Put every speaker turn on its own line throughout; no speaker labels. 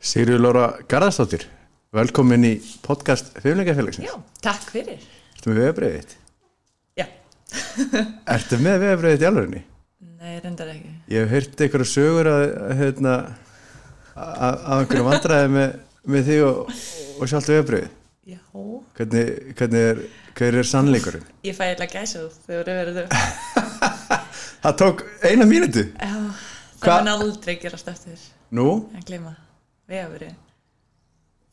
Sigriður Lóra Garðarsdóttir, velkomin í podcast Fjöflingafélagsins.
Já, takk fyrir.
Ertu með veðabriðið?
Já,
Ertu með veðabriðið í alvegni?
nei, reyndar ekki.
Ég hef heyrt einhverja sögur að, hérna, að, að einhverju vandræði með, með því og, og sjálft veðabriðið.
Já,
Hvernig, hvernig er, hver er sannleikurinn?
ég fæ eitthvað gæsa þú þegar þú verður þau.
Það tók eina mínútu.
Já, það
Hva-
mun aldrei gerast eftir
Nú,
að gleyma vefurinn.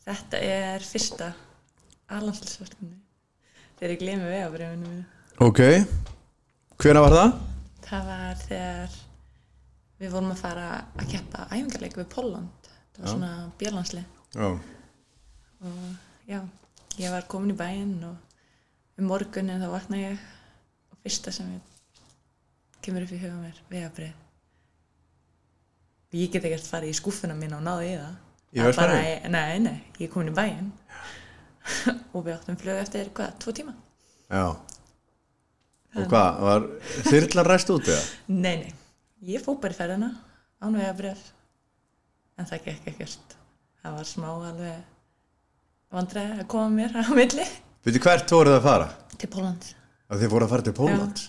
Þetta er fyrsta aðlandslisverkefni þegar ég gleymi vefurinn mínu.
ok. Hvena var það?
Það var þegar við vorum að fara að keppa æfingarleik við Pólland. Það var svona björnlandslið.
Já.
og já, ég var komin í bæinn og um morgunin þá vakna ég og fyrsta sem ég kemur upp í huga mér vegabrið ég get ekkert farið í skúfuna mín og náði í það
Í
Það bara-
verslunum?
Nei, nei, ég er komin í bæinn og við áttum flög eftir hvað, tvo tíma?
Já. Og hvað, var þyrlan ræst út eða?
Nei, nei, ég fór bara í ferðina án vegabrið en það gekk ekkert það var smá alveg vandræði að koma mér á milli
Veitu hvert voruð það að fara?
til Pólandi
að þið voru að fara til Pólans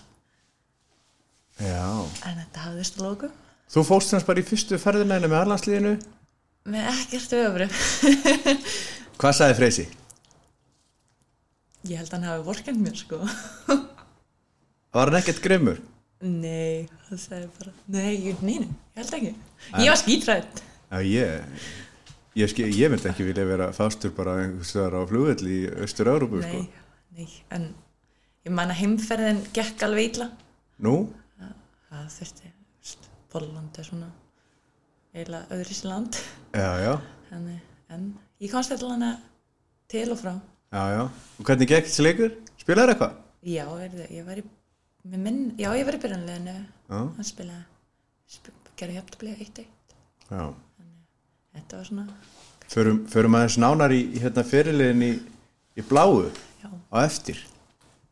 Já
En þetta hafðist að lókum
Þú fóst hans bara í fyrstu ferðina henni með Arlandsliðinu
með ekkert öfrið.
Hvað sagði Freysi?
Ég held að hann hafi vorkend mér sko.
Var hann ekkert grimmur?
Nei, það sagði bara, nei, ég, nei, nei, ég held ekki. Ég var skítrætt.
Já, ég Ég, skil, ég myndi ekki vilja vera fastur bara einhvers vegar á flugvelli í Östur-Európu sko.
Nei, nei, en ég man að heimferðin gekk alveg illa.
Nú?
Það þurfti, veist, Póland er svona eiginlega öðris land.
Já, já,
Þannig, en ég komst allan að til og frá.
já, já Og hvernig gekk þessi leikur? Spilaði eitthvað?
Já, er, ég var í, með minn, já, ég var í byrjanleginu.
Já.
Hann spilaði, sp gerði hjátt að bliða eitt eitt.
Já
Þetta var svona
Förum, förum aðeins nánar í, í hérna fyrirliðin í, í bláu
Já.
á eftir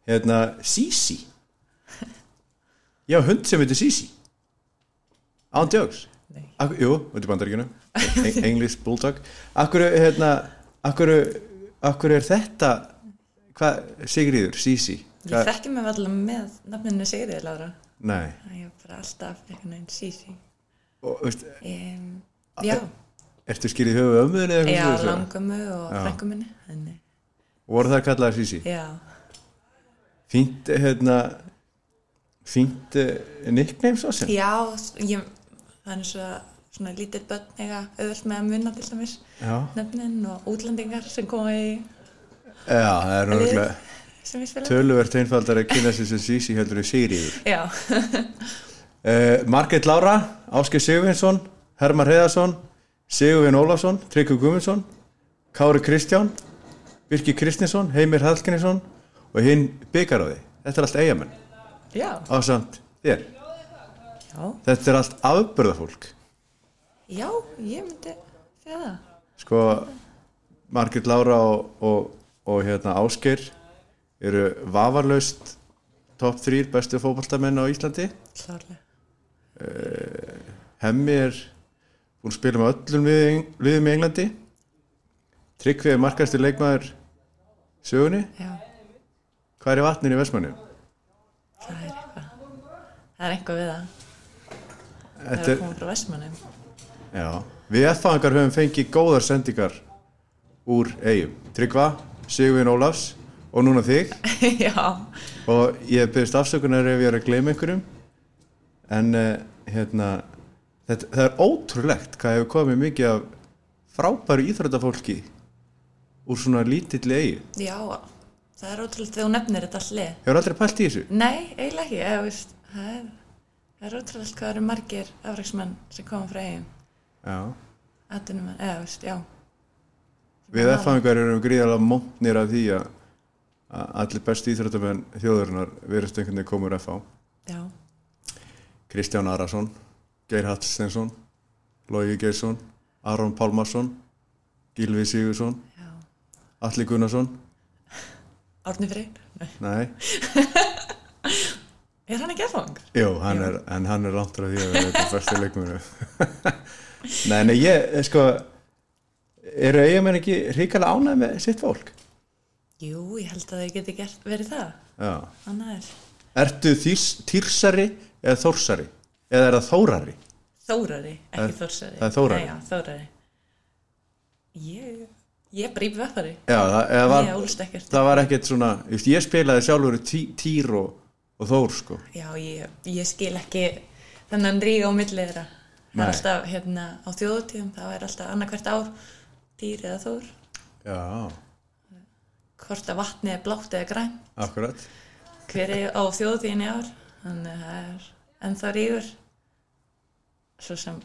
hérna Sisi ég hafa hund sem heitir Sisi án djóks
Nei.
Ak- jú, út í bandaríkjunum Eng- English Bulldog akkur, hérna, akkur, akkur er þetta hvað, Sigríður, Sisi
Ég þekki mig allavega með nafninu Sigriði Lára.
nei
Það er bara alltaf einhvern veginn Sisi.
Og, veist,
Um, já,
ertu skýrið höfuð ömmuðinu eða
já,
eitthvað svoleiðis?
langömmu og frængu minni. Þannig,
voru það kallaðar Sisi
já,
fínt, hérna fínt eh, nickname svo sem
já s- ég, það er eins og svona lítill börn eiga auðvöld með að munna til dæmis
já,
nöfnin og útlendingar sem koma í
já, það er
lið
náttúrulega
sem ég spila.
Töluvert einfaldar að kynna sér sem Sisi heldur í Sigriður.
Já,
Uh, Margrét Lára, Ásker Sigurvinsson, Hermar Heiðarsson, Sigurvin Ólafsson, Tryggur Gumundsson, Kári Kristján, Birki Kristinsson, Heimir Hallgrímsson og hinn byggaráði. Þetta er allt eigamenn
já,
ásamt þér.
já,
Þetta er allt afbörðafólk.
já, ég myndi segja það.
Sko, Margrét Lára og, og, og hérna Ásker eru vafarlaust top 3 bestu fótballtamenn á Íslandi.
Klárlega.
Hemmi er búinn að spila með öllum liðum- liðum í Englandi Tryggvi er markastur leikmaður sögunni
Já,
Hvað er í vatninu í Vestmannu?
það er eitthvað. Það er eitthvað við það. Það
Þetta er,
er að koma frá Vestmannum.
já, við F-fangar höfum fengið góðar sendingar úr eigum Tryggva, Sigurvin Ólafs og núna þig
já,
og ég byrðist afsökunar ef ég er að gleyma einhverjum en uh, hérna þetta, það er ótrúlegt hvað hefur komið mikið af frábæru íþróttafólki úr svona lítill eigi
Já, það er ótrúlega þegar þú nefnir þetta hlið.
Hefur aldrei pælt í þessu?
Nei, eiginlega ekki, eða, þú veist, það er, það er ótrúlega hvað eru margir afræksmenn sem koma frá eigum,
Já.
atvinnumenn, eða, þú veist, já,
Við F-fangar erum gríðarlega mótnir af því að að allir bestu íþróttamenn þjóðurinnar verðist einhvern veginn komur F-á.
já,
Kristján Arason, Geir Hallstensson, Lógi Geirsson, Aron Pálmarsson, Gilvi Sigursson,
já,
Alli Gunnarsson,
Árni Freyr, Nei.
nei,
er hann ekki aðfangur?
jú, hann er, en hann er langt frá því að vera eitthvað bestu leikmunu. nei, nei, ég, eh, sko, eru eigamenn ekki ríkala ánægð með sitt fólk?
Jú, ég held að þau geti gert, verið það.
Já.
Annað er
Ertu þýrs, týrsari eða þórsari? Eða er það þórari?
Þórari,
Það
ekki
er-
Þórsari.
það er Þórari.
Nei, Já, Þórari. Ég, ég er bara í vöppari.
Já, það, eða var,
Ég ólst ekkert.
það var ekkert svona, þú veist, ég spilaði sjálfur tí, týr og, og þór, sko.
Já, ég, ég skil ekki þennan ríga á milli þeirra. Það
Nei.
er alltaf, hérna, á þjóðutíðum, það er alltaf annarkvært ár, dýr eða þór,
Já,
hvort að vatnið er blátt eða græn,
akkurat.
hver er á þjóðutíðinni ár, þannig að það er ennþá rígur. Svo sem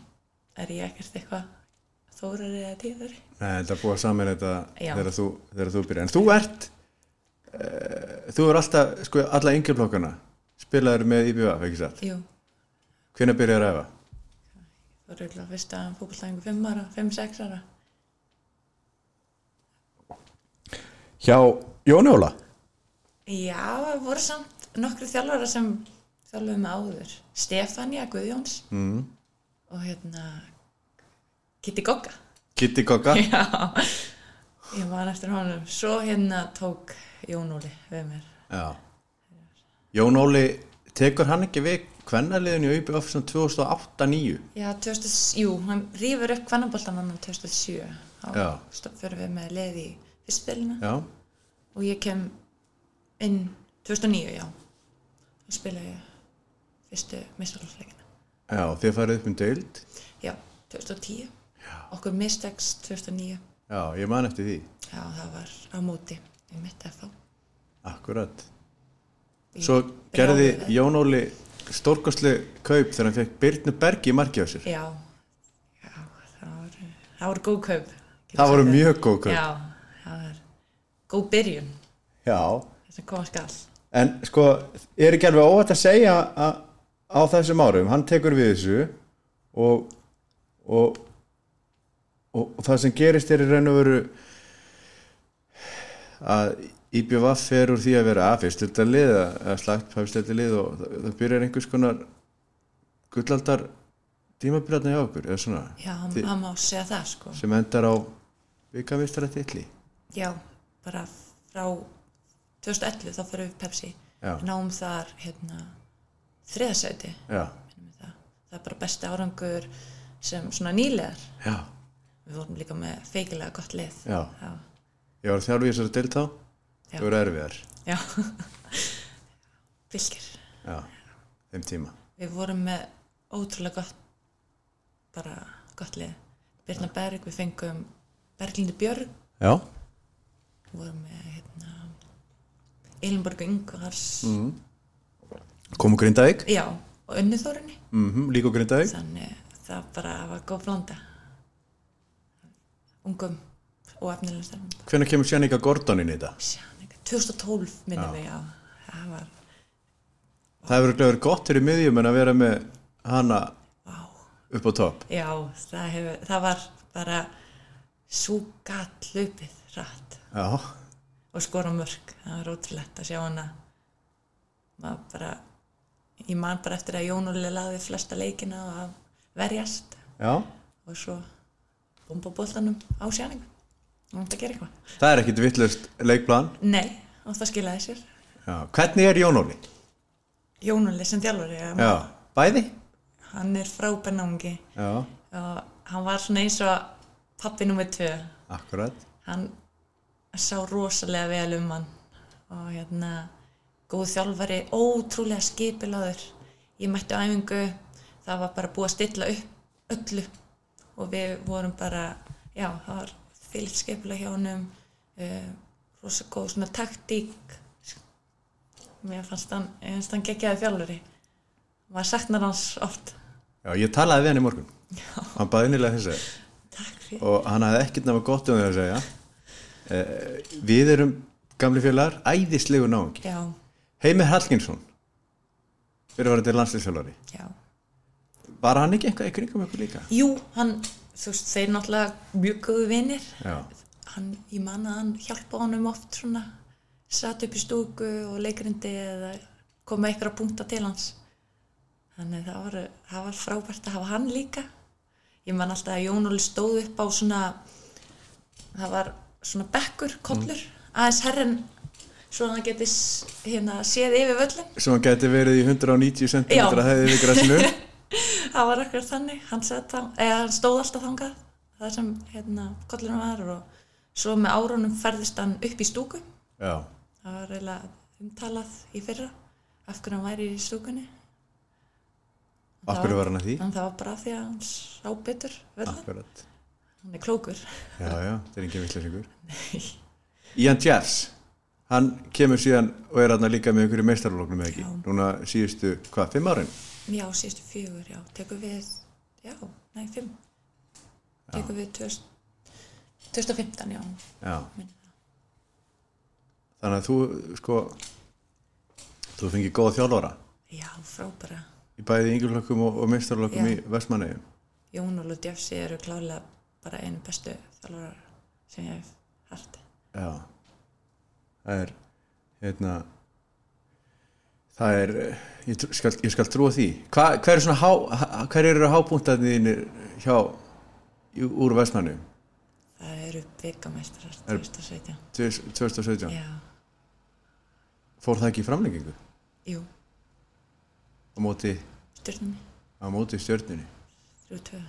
er ég ekkert eitthvað þórari eða dýrari.
Nei, þetta er búið að saman þetta
Já.
þegar þú, þegar þú byrjar. En þú ert, uh, þú er alltaf, sko, alla yngjaflokkana, spilaður með IBF, ekki satt?
Jú,
Hvenær byrjar að ræfa?
Það voru eiginlega fyrsta fókbaltæðingu 5 ára, 5-6 ára.
Hjá Jóni Óla.
Já, það voru samt nokkru þjálfara sem þjálfuðu með áður. Stefania Guðjóns
Mm.
og hérna Kitty Gogga.
Kitty Kokka.
Já, ég man eftir honum. Svo hérna tók Jón Óli við mér.
Já. Jón Óli, tekur hann ekki við kvennaliðinu í IBF sem 2008-2009?
Já, 2000, jú, hann rýfur upp kvannabóltamannum 2007.
Já.
Þá fyrir við með leið í fyrstbylina
Já.
og ég kem inn 2009, já. Þá spila ég fyrstu mistalofleikina.
Já, þið farið upp um deild.
Já, 2010. Okkur mistekst 2009.
Já, ég man eftir því.
Já, það var á móti í mitt FH.
Akkurat.
Í
Svo gerði
brjálæði.
Jón Óli stórkostlu kaup þegar hann fekk Byrnu Bergi í marki á sér.
Já, já það voru, það voru góð kaup.
Það voru mjög góð kaup.
Já, það var góð byrjun.
Já,
Þess að koma skall.
en sko, er ekki alveg óvægt að segja að, á þessum árum, hann tekur við þessu og, og, og, og það sem gerist er í raun og veru að IBVF fer úr því að vera að fyrst þetta lið að að slagt fyrst þetta lið og það, það byrjar einhvers konar gullaldar tímabilarna hjá okkur, eða svona
Já, hann,
Þi-
hann má segja það, sko.
sem endar á vikavistara titli
Já, bara frá 2011 þá fyrir við Pepsi.
Já.
Náum þar, hérna, þriðasæti.
Já,
minnum við Það. það er bara besti árangur sem svona nýlegar.
já,
Við vorum líka með feikilega gott lið.
já
Já,
Ég var þjálfur í þessari deild þá,
Já.
það voru erfiðar
já. Fylgir.
Já, þeim tíma.
Við vorum með ótrúlega gott, bara gott lið. Birna Berg, við fengum Berglindi Björg,
Já.
við vorum með hérna, Elinborg Ingvars,
Komu Grindavík,
já, og Önnuþórinni.
mm líka Grindavík.
Þannig það bara var góð blanda. Ungum og efnilegum stærnum.
Hvenær kemur Sjannika Gordon inn í þetta?
Sjánika, 2012 minnum við, já. Það var,
Það hefur örugglega verið gott fyrir miðjum en að vera með hana
vá.
upp á topp.
Já, það, hefur, það var bara svo gatt hlaupið rætt
Já.
og skora mörg. Það var ótrúlegt að sjá hana. Maður bara, ég man bara eftir að Jónuleg laði flesta leikina og að verjast
Já.
og svo bomba boltanum á sjáningu. Hún átti að gera eitthvað.
Það er ekkit vittlust leikplan.
Nei, og það skilaði sér.
Já. Hvernig er Jón Óli?
Jónuleg sem þjálfur,
Já. Bæði?
hann er frábennangi
Já.
og hann var svona eins og pappi nummið tvö.
Akkurat.
hann sá rosalega vel um hann og hérna góð þjálfari, ótrúlega skipiláður ég mætti á æfingu það var bara búið að stilla upp öllu og við vorum bara já, það var fylg skipila hjá honum uh, rosa góð svona taktík mér fannst hann, ég fannst hann geggjaði þjálfari maður saknar hans oft
Já, ég talaði við hann í morgun. Já. Hann baði innilega þess að
takk fyrir
og hann hafði ekkert nema gott um því að segja. Eh, við erum gamli félagar, æðislegu náungi.
já,
Heimir Hallgrímsson fyrirvarandi landslýsjálfari
já
var hann ekki eitthvað í kringum ykkur líka?
Jú, hann, þú veist, þeir náttúrulega mjög góðu vinir.
Já.
Hann, ég man að hann hjálpa honum oft svona, satt upp í stúku og leikrindi eða koma eitthvað að punkta til hans. Þannig það var, það var frábært að hafa hann líka. Ég man alltaf að Jón Óli stóð upp á svona það var svona bekkur, kollur aðeins herrin svo að hann geti s- hérna, séð yfir völlin
sem hann geti verið í 190 cm
Já.
hefði við græsinu
það var akkur þannig, hann, sat þang- eða, hann stóð alltaf þangað það sem hérna, kollurinn var og svo með árunum ferðist hann upp í stúku
já,
það var eiginlega umtalað í fyrra af hverju hann væri í stúkunni
af hverju var hann að því?
en það var bara af því að hann sá betur völlin,
Akkurat,
hann er klókur
já, já, það er engin vittlæsingur Ian Jeffs hann kemur síðan og er hann líka með einhverju meistarlóknum eða ekki
Já.
núna síðustu, hvað, fimm árin?
já, síðustu fjögur, já, tekur við já, nei, fimm tekur við 2000 2015, já
Já Þannig að þú sko þú fengið góða þjálfara
já, frábæra
í bæði yngjurlökkum og, og meistarlökkum
Já.
í Vestmanneigum
Jón og Lutjafsi eru klálega bara einu bestu þjálfarar sem ég hef hægt.
Já Það er hérna það er eh, ég, tr- skal, ég skal trúa því Hva, hver, er svona há, há- hver eru hábúntarnir þínir hjá í- úr Vestmanneigum
Það eru byggamestrar
Er-
2017.
2017
Já,
Fór það ekki í framlengingu
jú,
á móti,
stjórnum
á móti stjörnunni
32.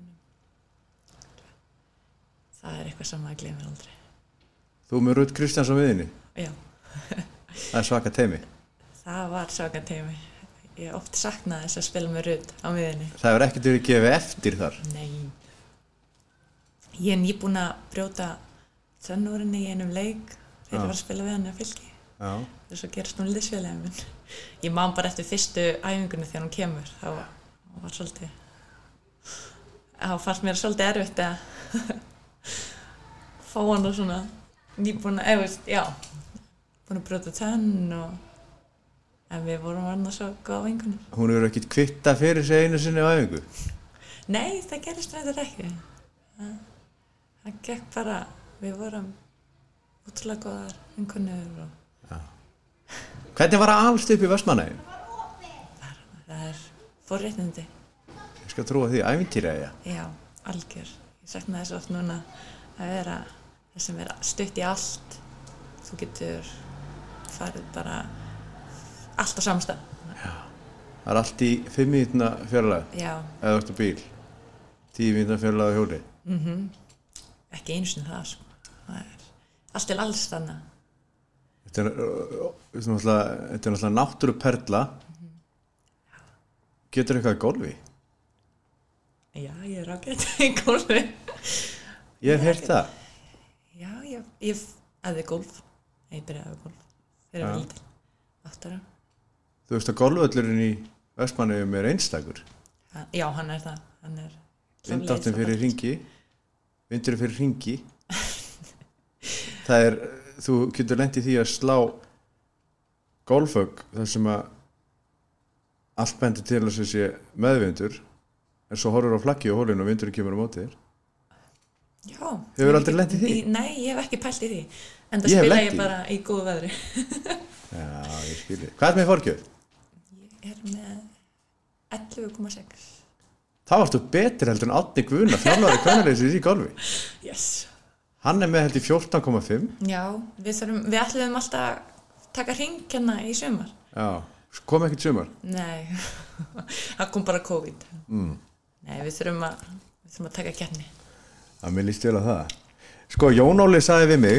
En- Það er eitthvað sem maður glemir aldrei.
Þú með Rútt Kristjáns á miðinni
Já,
Það er svaka teimi
það var svakan teimi. Ég hef oft saknaði þess að spila með rudd á miðinni.
Það hefur ekkert verið gefið eftir þar
Nei. Ég er nýbúin að brjóta tönnúrinni í einum leik þegar
Já.
ég var að spila við hann að fylgi.
Já,
þess að gerast hún liðsfélagin minn ég man bara eftir fyrstu æfingunni þegar hún kemur þá hún var svolítið þá fannst mér svolítið erfitt að fá hann og svona nýbúin að, eða veist, já búin að brjóta tönn og en við vorum annars svo góða vingunum
hún hefur ekkert kvitta fyrir sig einu sinni á æfingu
nei, það gerist reyndar ekki það, það gekk bara við vorum útrúlega góðar vingunum og
Hvernig var að alst upp í Vestmanægin?
það er forréttindi
Ég skal trúa því, æfintýra ég
Já, algjör. Ég sakna þess oft núna að vera það sem er stutt í allt. Þú getur farið bara allt á samstað.
Það er allt í 5 mínutna fjarlæg
Já,
eða eftir bíl 10 mínutna fjarlæg á hjóli
ekki einu sinni það, sko. Það er allt til alls þannig.
Þetta er, ö, ö, þetta er náttúrulega, þetta er náttúrulega náttúruperla Getur eitthvað í golfi?
Já, ég er ágætt í gólfi.
Ég hef heyrt það
Já, ég, ég æði gólf. Ég byrjaði að gólf. Þeir
Já.
eru lítið. Áttara.
Þú veist að golföllurinn í Vestmanægum er einstakur
Hann- Já, hann er það. Hann er...
Vindáttin fyrir ringi Vindur fyrir ringi Það er þú getur lent í því að slá golfögg þar sem að allt bendir til að þessi meðvindur en svo horfur á flakki og hólinn og vindurinn kemur á móti þér
Já.
Hefurðu
Ég
aldrei
get-
lent í því?
Í, nei, ég hef ekki pælt í því. En það
Ég hef
spila
lent
ég
í
bara í góðu veðri.
Já, ég skilji Hvað er með fórgjöf?
Ég er með 11,6.
Þá ertu betri heldur en Átni Guðna fjárlæri kvennarleysið í golfi
Yes.
Hann er með heldur 14,5
Já, við, þurfum, við ætlum alltaf að taka hring hérna í sumar.
Já, kom ekkert sumar
Nei, það kom bara COVID. Mm. Nei, við þurfum að, við þurfum að taka kjarni.
að mér líst vel að það sko Jón Óli sagði við mig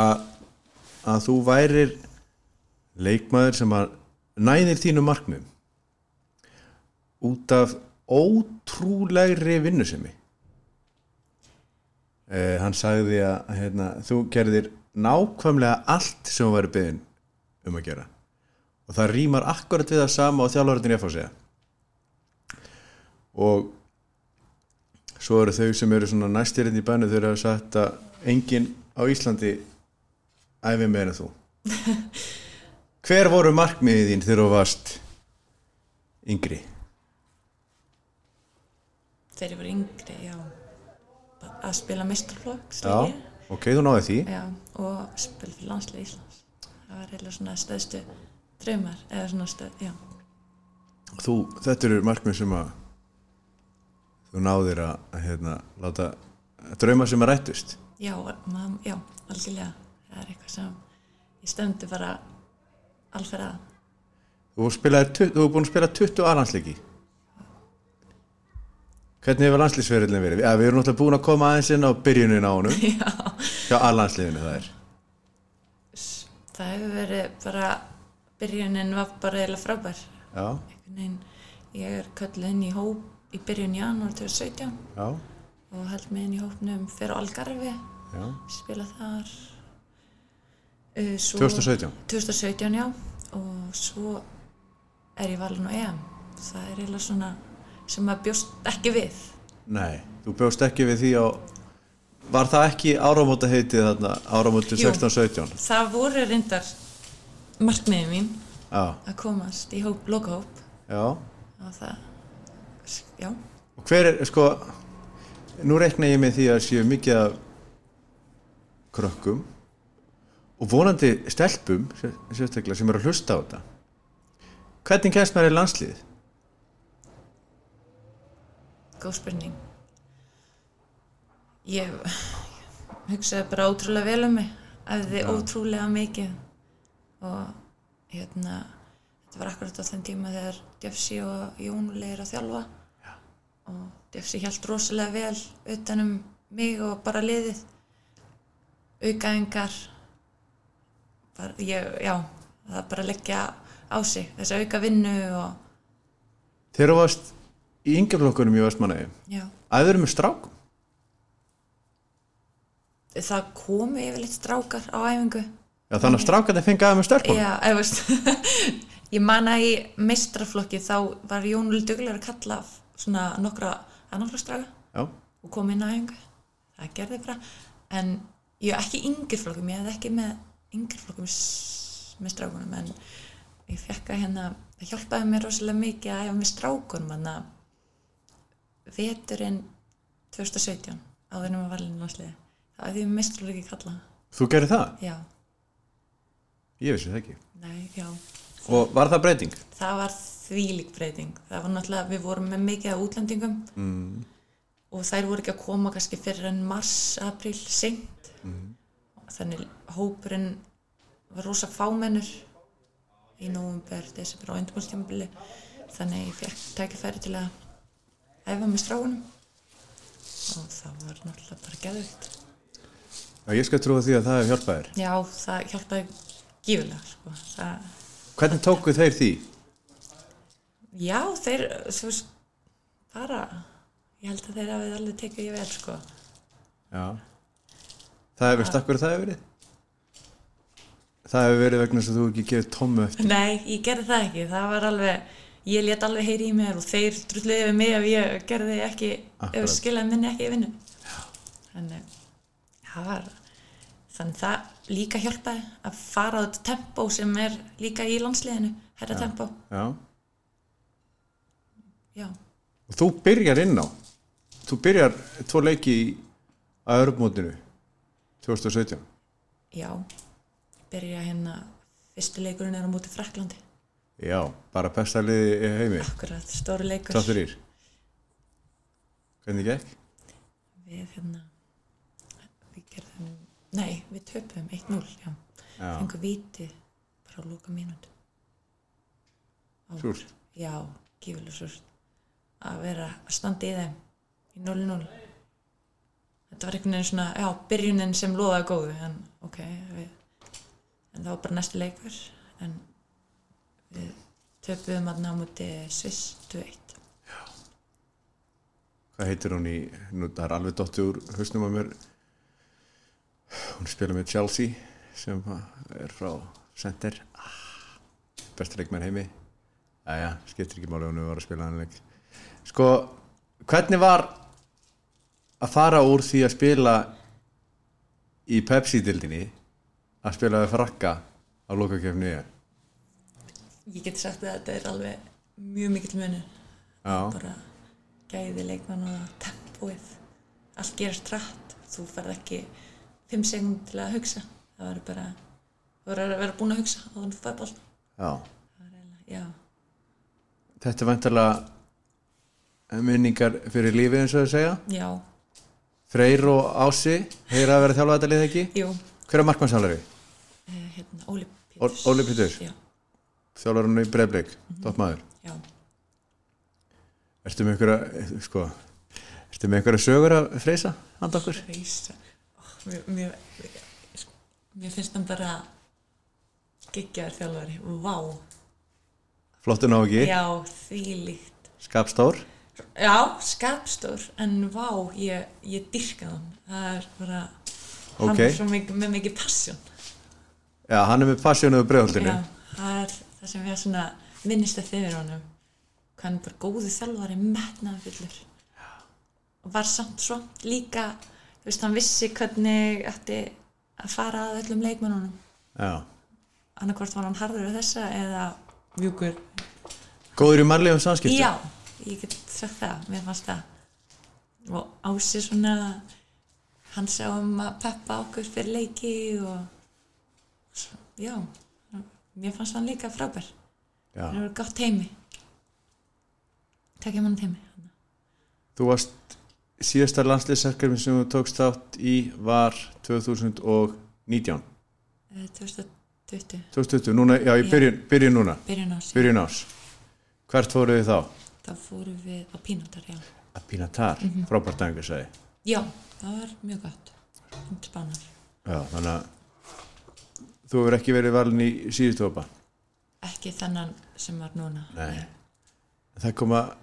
að, að þú værir leikmaður sem að næðir þínu markmið út af ótrúlegri vinnusemi eh, hann sagði að hérna, þú gerðir nákvæmlega allt sem þú væri beðin um að gera og það rýmar akkurat við það sama á þjálfaröndin ég fá að segja og svo eru þau sem eru svona næstirinn í bænum þau eru að sagt að enginn á Íslandi æfi meira en þú hver voru markmiðið þín þegar þú varst yngri
Þegar ég var yngri, já, bara að spila mestarflokk,
já,
slegja.
ok, þú náði því
Já, og spila fyrir landslið Íslands. Það var eiginlega svona stöðstu draumar, eða svona stöð, já.
þú, þetta eru markmið sem að þú náðir að, að hérna, láta drauma sem að rættust
Já, mam, já, algjörlega. Það er eitthvað sem ég stemdi bara alferða.
Þú spilaðir tu- þú hefur búin að spila 20 aðlandsleiki Hvernig hefur landslýsferðilin verið? Ja, við erum náttúrulega búin að koma aðeins inn á byrjunin á honum
Já,
hjá aðlandsliðinu það er
S- það hefur verið bara, byrjunin var bara eiginlega frábær.
Já,
Einhvern veginn, ég er kölluð inn í hóp í byrjun janúar 2017
já,
og held mig inn í hópnum fyrir Algarfi,
já
spila þar. Uh, svo-
2017
2017, já. Og svo er ég valin á EM. Það er eiginlega svona sem maður bjóst ekki við.
Nei, þú bjóst ekki við því á Var það ekki áramóta heitið þarna áramóti
Jú.
16-17?
Það voru reyndar markmiðið mín
Já,
að komast í hóp, lokahóp
já
og það, já,
Og hver er, sko, nú rekna ég með því að séu mikið af krökkum og vonandi stelpum, sér- sérstaklega, sem eru að hlusta á þetta. Hvernig kemst maður í landslið?
góð spurning. Ég hugsaði bara ótrúlega vel um mig, æfði ótrúlega mikið og hérna, þetta var akkurat á þenn tíma þegar Djöfsi og Jónuleg er að þjálfa og Djöfsi hjælt rosalega vel utanum mig og bara liðið, aukaðingar, bara, ég, já, það er bara að leggja á sig, þessi auka vinnu og,
Þegar þú varst í yngjaflokkunum í Vestmannaði,
já,
æður með strákum.
það komu yfirleitt strákar á æfingu
Já, þannig að strákarnir fengi aðeins með stelpum.
Já, eða veist ég man að í meistraflokki þá var Jónul duglegur að kalla af svona nokkra annarflokksdraga
Já,
og kom inn á æfingu það gerði bara en ég ekki í yngri flokkum, ég hefði ekki með yngri flokkum s- með strákunum en ég fekk að hérna það hjálpaði mér rosalega mikið að æfa með strákunum þannig að veturinn 2017 áður en maður valinu landsliði þá hefði ég meistraflokki kalla
þú gerir það?
já,
Ég vissi það ekki.
nei, já
Og var það breyting?
það var þvílík breyting það var náttúrulega, við vorum með mikið af útlendingum mm. og þær voru ekki að koma kannski fyrir en mars, april, seint mm. þannig hópurinn var rosa fámennur í nóvumber, desember og endurmálstjámbili þannig ég fekk tækifæri til að æfa með stráunum og það var náttúrulega bara geðvikt
Já, ég skal trúa því að það hefur hjálpað þér.
já, það hjálpaði gífilega sko. það
Hvernig tóku þeir því?
Já, þeir, þú veist, bara, ég held að þeir hafið alveg tekið ég vel, sko.
Já. Það hefur, veist akkur það hefur verið? Það hefur verið vegna þess að þú hefur ekki gefið tómmu eftir.
Nei, ég gerði það ekki, það var alveg, ég let alveg heyri í mér og þeir drulluði við mig ef ég gerði ekki,
Akkurat.
ef skilaði minni ekki í vinnu. Þannig, það var, þannig það líka hjálpaði að fara á þetta tempó sem er líka í landsliðinu, herra tempó,
Já.
já.
Og þú byrjar inn á, þú byrjar tvo leiki í að örfmótinu 2017.
Já, byrja hérna, fyrsti leikurinn er á móti Fraklandi,
Já, bara besta liði í heimi,
akkurat, stóri leikur.
það þrýr. Hvernig gekk?
við hérna við gerðum, nei, við töpum 1-0, já,
Já.
fengum víti bara á lóka mínútu
Súrt.
já, gífileg súrt að vera að standa í þeim í 0-0 þetta var einhvern veginn svona, já, byrjunin sem loðaði góðu, en ok við, en það var bara næsti leikur en við töpuðum að námúti Sviss 2-1
Hvað heitir hún í, nú það er alveg dottið úr hausnum að mér. Hún spila með Chelsea sem er frá Center. Ah, Besta leikmenn heimi. Æja, skiptir ekki máli hún var að spila hann leik. Sko, hvernig var að fara úr því að spila í Pepsi-dildinni að spila við frakka á lokakefni er?
ég get sagt að þetta er alveg mjög mikill munur
Já,
bara gæði leikmann og tempóið allt gerast rætt þú ferð ekki 5 sekund til að hugsa það verður bara þú verður að vera búin að hugsa og þannig fæði bólt
já.
já,
Þetta er vantarlega minningar fyrir lífið eins og þau segja.
já,
Freyr og Ási heyra að vera þjálfa þetta lið ekki
Jú,
Hver er markmannsamlari?
eh, hérna, Óli Péturs.
Ó- Óli Péturs?
Já,
Þjálfar hann í breyfleik, mm maður
já.
Ertu með einhverja, sko Ertu með einhverja sögur að freysa handa okkur?
Reisa. Oh, mér, mér, sko, mér finnst hann bara geggjaður þjálfari. Vá.
Flottur ná ekki,
Já, þvílíkt.
skapstór
Já, skapstór, en vá, ég, ég dyrka hann. Það er bara,
Ok.
hann er svo mikið, með mikið passion.
Já, hann er með passjónuðu breyfaldinu
Já, það er það sem ég svona minnist að þið er honum. Hvað hann er bara góðu þjálfari, metnaðfullur. Og var samt svo líka, þú veist, hann vissi hvernig ætti að fara að öllum leikmennunum.
Já,
annarkvort var hann harður við þessa eða mjúkur
góður í mannlegum samskiptum
já, ég get sagt það, mér fannst það og Ási svona hann sá um að peppa okkur fyrir leiki og svo- já mér fannst hann líka frábær
Já.
hann var gott heimi takk ég mann heimi
Þú varst síðasta landsliðsarkarmi sem þú tókst þátt í var 2019
Eh, 2020,
2020, núna, já, ég
Já.
byrjun, byrjun núna
byrjun ás
byrjun ás Hvert fóruð þið þá?
þá fórum við á pínundar já.
Að pína tar, mm -hmm. frábært dængur sagði
já, það var mjög gott um spanar
Já, þannig að þú hefur ekki verið valin í síðustu hópa
ekki þennan sem var núna
Nei. Það koma,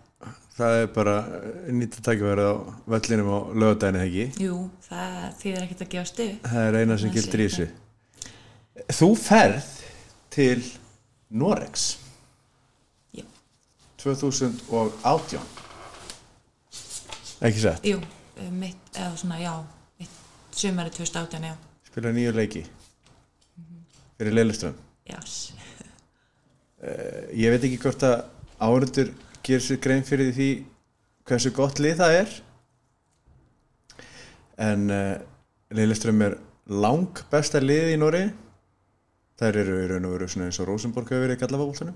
það er bara nýtt að taka verið á völlinum á lögadæni þegar ekki
Jú, það þýðir ekkert að gefa stuð.
Það er eina sem
Það
gildir í
sé
þessu Þú ferð til Norex
Já.
2018 Ekki satt,
Jú, eh, mitt, eða svona, já, mitt sumari 2018, já.
spila nýju leiki
Mhm.
fyrir Leiluström
Jás.
Eh, Ég veit ekki hvort að áhundur gerir sér grein fyrir því hversu gott lið það er en uh, Leiluström er lang besta lið í Nóri Þær eru í raun og veru svona eins og Rosenborg hefur verið í gallafabóltunum.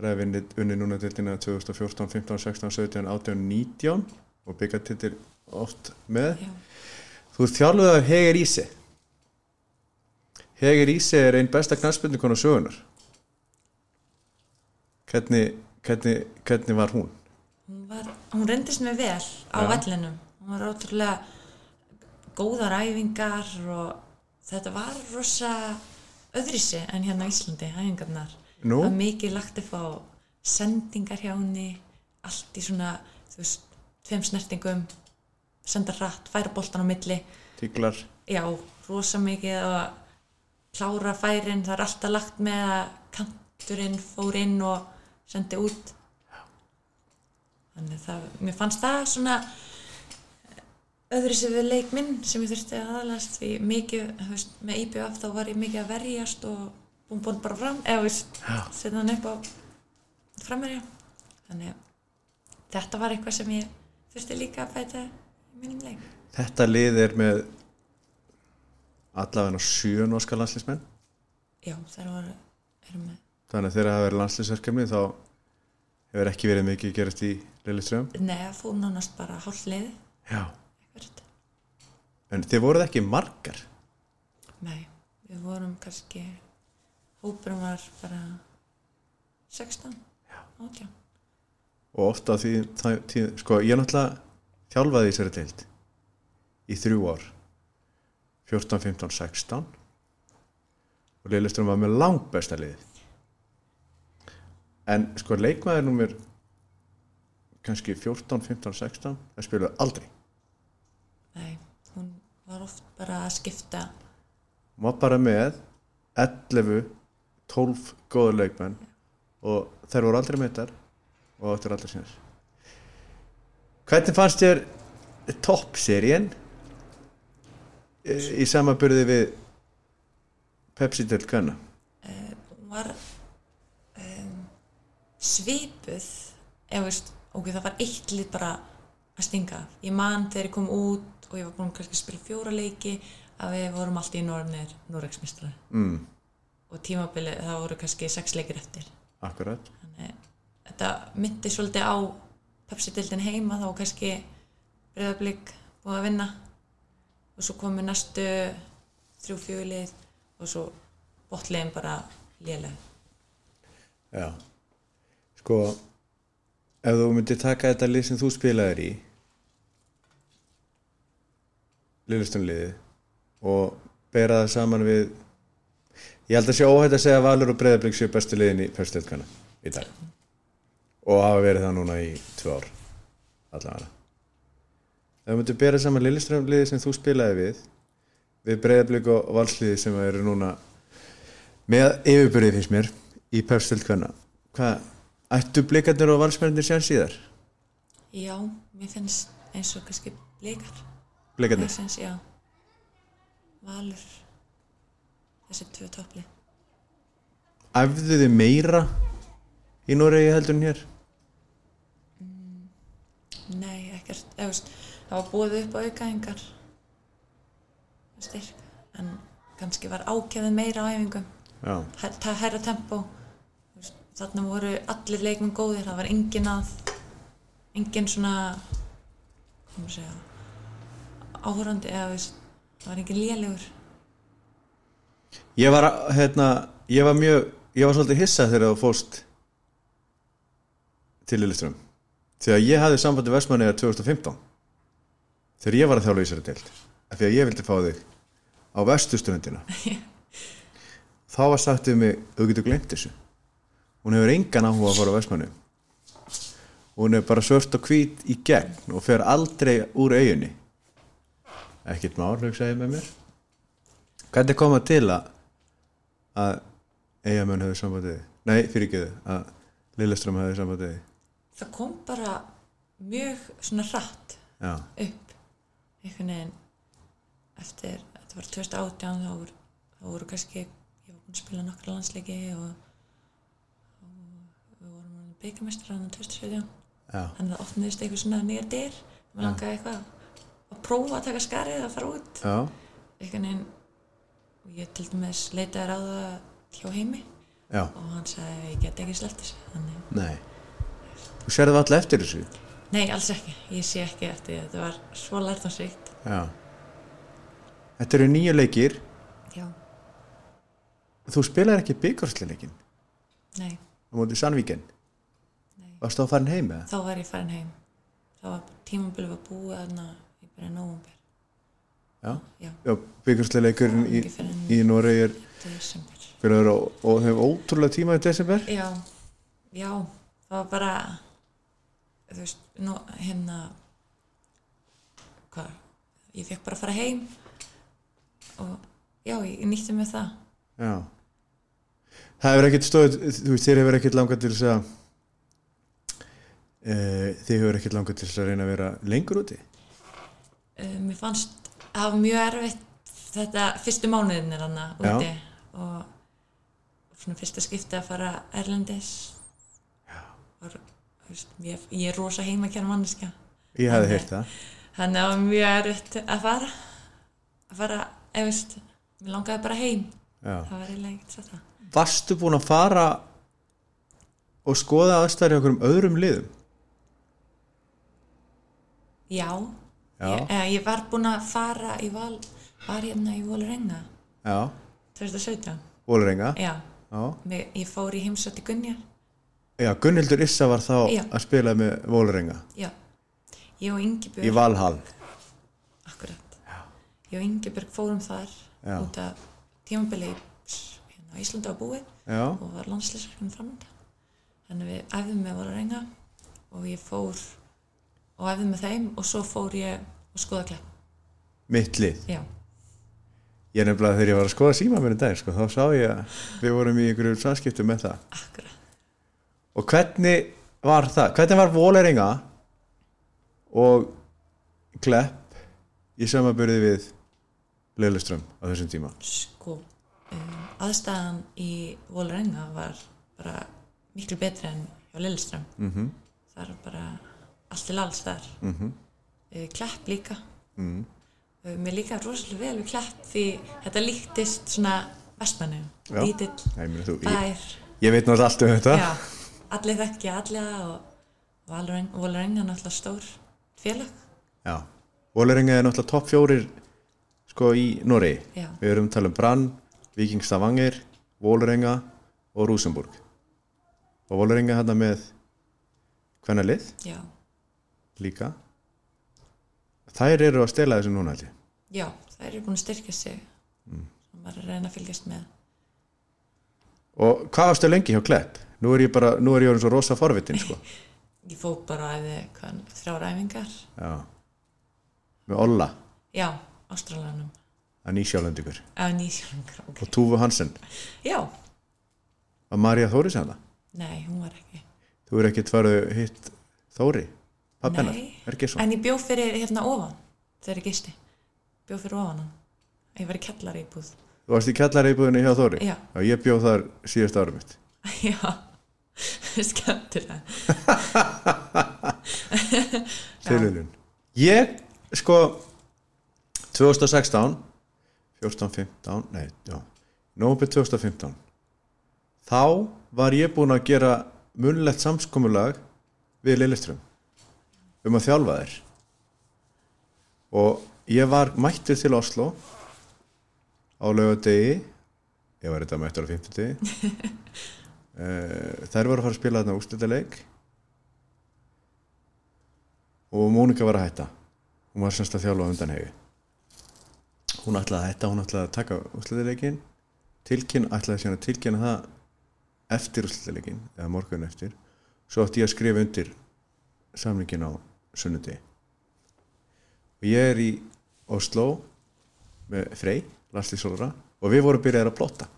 Það er vinnið unni núna dildina 2014, 15, 16, 17, 18, 19 og byggartildir oft með.
Já.
Þú ert þjálfuð af Heger Íse. Heger Íse er einn besta knarspilni konar sögunar. Hvernig, hvernig, hvernig var hún?
Hún, var, hún reyndist mér vel á
Já.
vellinum. Hún var ótrúlega góðar æfingar og þetta var rosa öðrisi en hérna á Íslandi, æfingarnar.
Nú?
Það var mikið lagt upp á sendingar hjá henni, allt í svona, þú veist, tveim snertingum, senda hratt, færa boltan á milli.
Tíklar?
já, rosa mikið og klára færin, það er alltaf lagt með að kanturinn fór inn og sendi út þannig það, mér fannst það svona öðru sem við leik minn sem ég þurfti að aðalast því mikið, þú veist, með IBF þá var ég mikið að verjast og búin búin bara fram eða þú veist,
Já.
setja hann upp á framverja þannig að þetta var eitthvað sem ég þurfti líka að bæta í mínum leik
Þetta lið er með allavega sjö norska landslísmenn.
já, þær voru, erum með
Þannig að þegar það verið landslýsverkefni þá hefur ekki verið mikið gerast í Lilliström.
Nei, það fór nánast bara hálflið
Já.
eitthvað.
En þið voruð ekki margar.
Nei, við vorum kannski hópurum var bara 16 18
Og oft á því, það, tí, sko, ég náttúrulega þjálfaði í þessari deild í þrjú ár. 14, 15, 16. Og Lilliström var með langbesta liðið. En sko, leikmaður numir kannski 14, 15, 16, það spilaði aldrei.
Nei, hún var oft bara að skipta
Hún var bara með 11, 12 góður leikmenn og þær voru aldrei meittar og áttur aldrei sinns hvernig fannst þér toppserien Eh, í samaburði við Pepsi til Kanna
hún var um, svipuð eða veist, ok, það var eitt lið bara að stinga af. ég man þegar ég kom út og ég var búin kannski að spila fjóra leiki að við vorum alltaf í norðnir Núreksmistrar mm. og tímabilið, það voru kannski sex leikir eftir
akkurat
þannig þetta myndi svolítið á Pepsi-dildin heima þá kannski breyðablík og að vinna og svo komu næstu þrjú fjögulið og svo botliðin bara léleg
Já Sko ef þú myndir taka þetta lið sem þú spilaðir í Lillustunliði og bera það saman við ég held að sé óhætt að segja að Valur og Breiðablík séu bestu liðin í fyrstöldkana í dag og hafa verið það núna í tvö ár allavega ef þú myndir bera saman Lillustunliði sem þú spilaði við við Breiðablík og Valsliði sem eru núna með yfirbyrðið finnst mér í pöfstöld hvenna hvað, ættu blikarnir og valsmennir sér síðar?
já, mér finnst eins og kannski blikar
blikarnir,
Hersins, já Valur þessi tvö topplið
æfðu þið meira í Noregi heldur en hér?
Nei, ekkert, eða veist, það var búið upp á aukaðingar styrk, en kannski var ákjæðin meira á æfingum
já,
Her- það herra tempó Þú veist, þarna voru allir leikmenn góðir það var engin að engin svona hvað maður að segja áhorandi eða þú veist, það var engin lélegur
ég var að, hérna, ég var mjög ég var svolítið hissa þegar þú fóst til Lilleström þegar ég hafði sambandi versmanniðar 2015 þegar ég var að þjálfa í sér deild af því að ég vildi fá þig á vestuströndina þá var sagt við mig þú getur glemt þessu hún hefur engan áhuga að fara á vestmannu hún er bara svört og hvít í gegn og fer aldrei úr augunni ekkert mál, hugsaði ég með mér hvernig kom það til að að eigamenn hefur sambandið nei, fyrir ekki þau að Lilleström hefur sambandið
það kom bara mjög svona hratt
já,
upp einhvern veginn eftir, þetta var 2018 þá voru, þá voru kannski ég var búin að spila nokkra landsleiki og, og við vorum byggamestrar hann 2017
já,
þannig að opniðist eitthvað svona nýja dyr maður langaði eitthvað að prófa að taka skarið að fara út
já
einhvern veginn og ég til dæmis leitaði ráða hjá heimi
já,
og hann sagði ég get ekki sleppt þessu þannig,
nei þú sérðu alltaf eftir þessu
nei alls ekki, ég sé ekki eftir því. þetta var svo lært og sýkt
já þetta eru nýju leikir
já,
þú spilar ekki byggarsleikin á
nei
móti Sandvíken
Nei.
varst þá að fara heim eða?
þá var ég farin heim þá var tímabilið var búið þarna ég byrja nóvumber
já,
já,
já byggarsleikurinn í,
Ekki fyrr en-
í Noregi er
desember
spilaður á, og þau hefur ótrúlega tíma í desember
já, já, það var bara þú veist, nú, hérna hvað ég fekk bara að fara heim og já, ég nýtti með það
Já Það hefur ekkert stóð þú veist, þér hefur ekkert langað til þess að e, þið hefur ekkert langað til þess að reyna að vera lengur úti
um, mér fannst það var mjög erfitt þetta fyrstu mánuðin er hann
Já.
úti og svona fyrsta skipti að fara erlendis var, þú veist, ég, ég er rosa heimakjæra manneska
Ég hefði
Nei.
heyrt það
þannig að það var mjög erfitt að fara að fara, ef veist mér langaði bara heim
Já.
það var eiginlega ekkert satt það
Varstu búin að fara og skoða aðstæður í okkur um öðrum liðum?
já,
Já.
Ég, eh, ég var búin að fara í val var hérna í Vólurenga
Já,
2017
Vólurenga
já,
Já.
mér, ég fór í heimsótti Gunjar
Já, Gunnhildur Issa var þá
Já.
að spila með Vólurenga
já, ég og Ingibjörg
í Valhall
Akkurat. Ég og Ingeborg fórum þar
Já.
út af tímabili s- hérna á Íslandi á búið
Já,
og var landslýsverkinn framönda. Þannig við æfðum með voru reynga og ég fór og æfðum með þeim og svo fór ég og skoða klepp.
mitt lið
Já,
Ég nefnilega þegar ég var að skoða síma mér í dag sko, þá sá ég að við vorum í ykkur samskiptum með það
akkurat.
Og hvernig var það? Hvernig var Vóleringa og Klepp í samaburði við Lilleström á þessum tíma?
Sko, um, aðstæðan í voru reynga var bara miklu betri en hjá Lilleström. Mm -hmm. Það var bara allt til alls þar. Mm -hmm. Klepp líka. Uh, Mér líka rosalega vel við klepp því þetta líktist svona vestmannu,
Já.
lítill,
Nei, mér, þú, ég,
bær,
ég veit náttúrulega allt um þetta.
já, allir þekkja alla og Valureng, Valureng er náttúrulega stór félag
Já. Vólaringa er náttúrulega topp fjórir sko í Noregi
Já.
við erum að tala um Brann, Viking Stavanger Vólaringa og Rúsenburg og Vólaringa hérna með hvenna lið
já,
líka þær eru að stela þessu núna held ég
já, það eru búin að styrka sig mm. maður er að reyna að fylgjast með
og hvað varstu lengi hjá Klepp? Nú er ég bara, nú er ég orðin svo rosa forvitin sko
ég fók bara að hvað, þrjár æfingar
já með Olla,
já, Ástralanum
að nýsjáland ykkur
eða nýsjálfingar okay.
og Túfu Hansen,
já,
að Marja Þóris hana
nei, hún var ekki
þú er ekkert farið hitt Þóri pappennar,
Nei.
Ergesson
en ég bjó fyrir hérna ofan þegar ég gisti, bjó fyrir ofan hann ég var í kjallari íbúð
þú varst í kjallareibúðinu hjá Þóri
Já.
ég bjóð þar síðast árum mitt
já, skemmtilega
Tilviljun. ég sko 2016 14, 15, nei, já nómpi 2015 þá var ég búinn að gera munlegt samskomulag við Lilleström um að þjálfa þér og ég var mættur til Oslo á laugardegi ég var þetta mættur á 50 þær voru að fara að spila þarna úrslitaleik og Mónika var að hætta hún var semst að þjálfa á undan hegi hún ætlaði að hætta hún ætlaði að taka úrslitileikin tilkyn, ætlaði síðan að tilkynna það eftir úrslitileikin eða morgun eftir svo átti ég að skrifa undir samlingin á sunnundi og ég er í Oslo með Frey, Lasli Solra og við vorum byrjaðir að plotta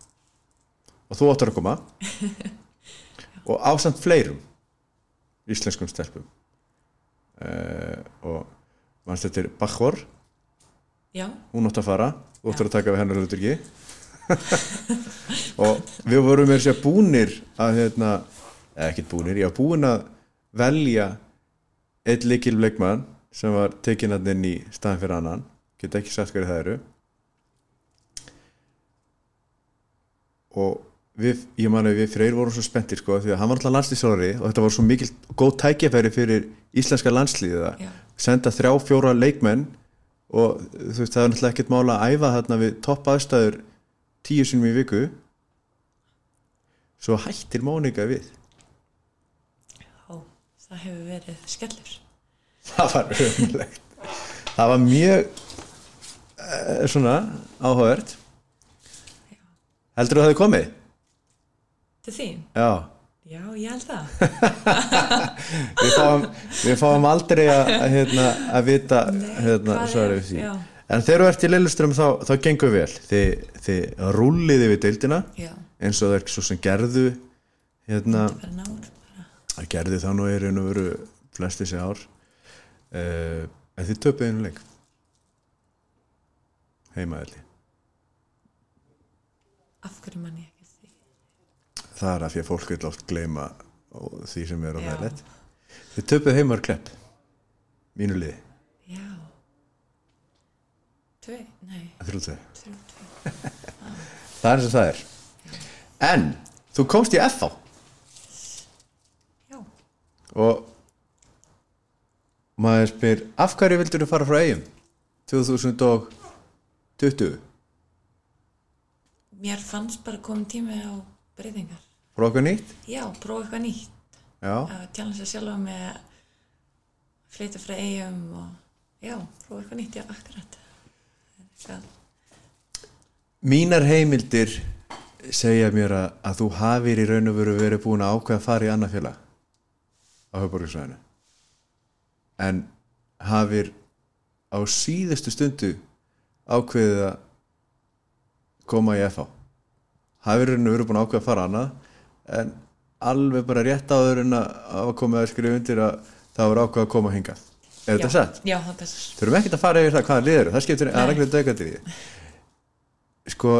og þú áttur að koma og ásamt fleirum íslenskum stelpum uh, og mannst þetta er Bachor
já,
hún átt að fara, þú áttur að taka við hennar hlutur ekki og við vorum með sér búnir að hérna, eða ekkert búnir já, búin að velja einn likil leikmann sem var tekin hann inn í staðan fyrir annan geta ekki sagt hverju það eru og við, ég man að við freyr vorum svo spenntir sko, því að hann var alltaf landslýsóri og þetta var svo mikil góð tækifæri fyrir íslenska landslýðið að
Já.
senda þrjá fjóra leikmenn og þú veist það er náttúrulega ekkert mála að æfa þarna við topp aðstæður tíu sinum í viku svo hættir Mónika við
já, það hefur verið skellur
það var umlegt það var mjög uh, svona áhugavert heldur þú að það hefði komið?
til þín,
já,
já, ég held það
við fáum, við fáum aldrei að, að, hérna, að vita
Nei,
hérna,
hvað
svarið
er-
við því
já.
en þegar þú ert í Lillustrum þá, þá gengur vel þið, þið rúlliði við deildina
já,
eins og það er ekki svo sem gerðu hérna,
það fyrir nár bara.
að gerðu þá nú er einu veru flest þessi ár uh, en þið töpuðu einu leik heimaðli
af hverju mann ég ekki því
það er af því að fólk vil oft gleyma ó- því sem er á
Já.
það lett þið töpuðu heimaður klepp mínu liði,
já tvei, nei,
að þrjú tvö
þrjú,
það
tvei
er eins og það er en þú komst í FH
já,
og maður spyr af hverju vildur þú fara frá eigum 2020
mér fannst bara komin tími á breytingar
frá okkur nýtt
já, prófa eitthvað nýtt
Já,
að tjána sér sjálfa með að flytja frá eigum og já, prófa eitthvað nýtt, já, akkurat eitthvað,
mínar heimildir segja mér að, að þú hafir í raun og veru verið búin að ákveða að fara í annað félag á höfborgarsvæðinu en hafir á síðustu stundu ákveðið að koma í FH hafir í raun og veru búin að ákveða að fara annað en alveg bara rétt áður en að hafa komið að skrifa undir að það var ákveða að koma hingað er þetta
já,
sett?
já, það passar
þurfum ekkert að fara yfir það hvaða lið eru það skiptir að reglum dögandi því sko,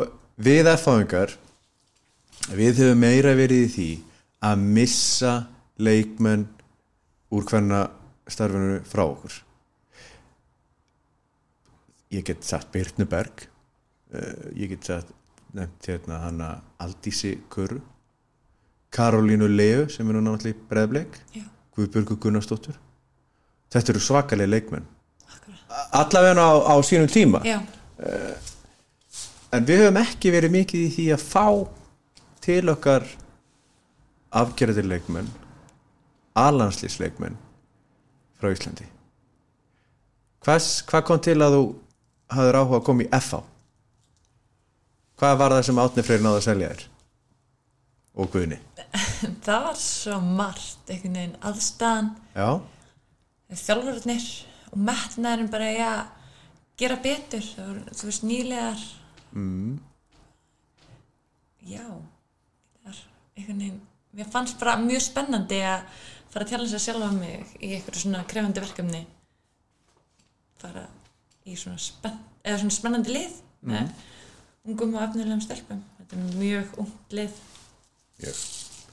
við erfáingar við höfum meira verið í því að missa leikmenn úr hverna starfinu frá okkur ég get sagt Birnuberg uh, ég get sagt nefnt hérna hana Aldísi Körru Karolínu Leu sem er núna náttúrulega í breðbleik
já,
Guðbjörgu Gunnarsdóttur þetta eru svakalega leikmenn
akkurat
allavega á, á sínum tíma
já,
en við höfum ekki verið mikið í því að fá til okkar afgerðirleikmenn alanslýsleikmenn frá Íslandi Hvers, hvað kom til að þú hafðir áhuga að koma í FH hvað var það sem Átni Freyr náði að selja þér og Guðni
það var svo margt einhvern veginn aðstæðan
já,
þjálfurarnir og metnaðurinn bara í að gera betur það voru, þú veist, nýlegar mm. já það er einhvern veginn mér fannst bara mjög spennandi að fara að tjála sér sjálfa um mig í einhverju svona krefandi verkefni fara í svona, spenn, eða svona spennandi lið með ungum og efnilegum stelpum þetta er mjög ungt lið
yes.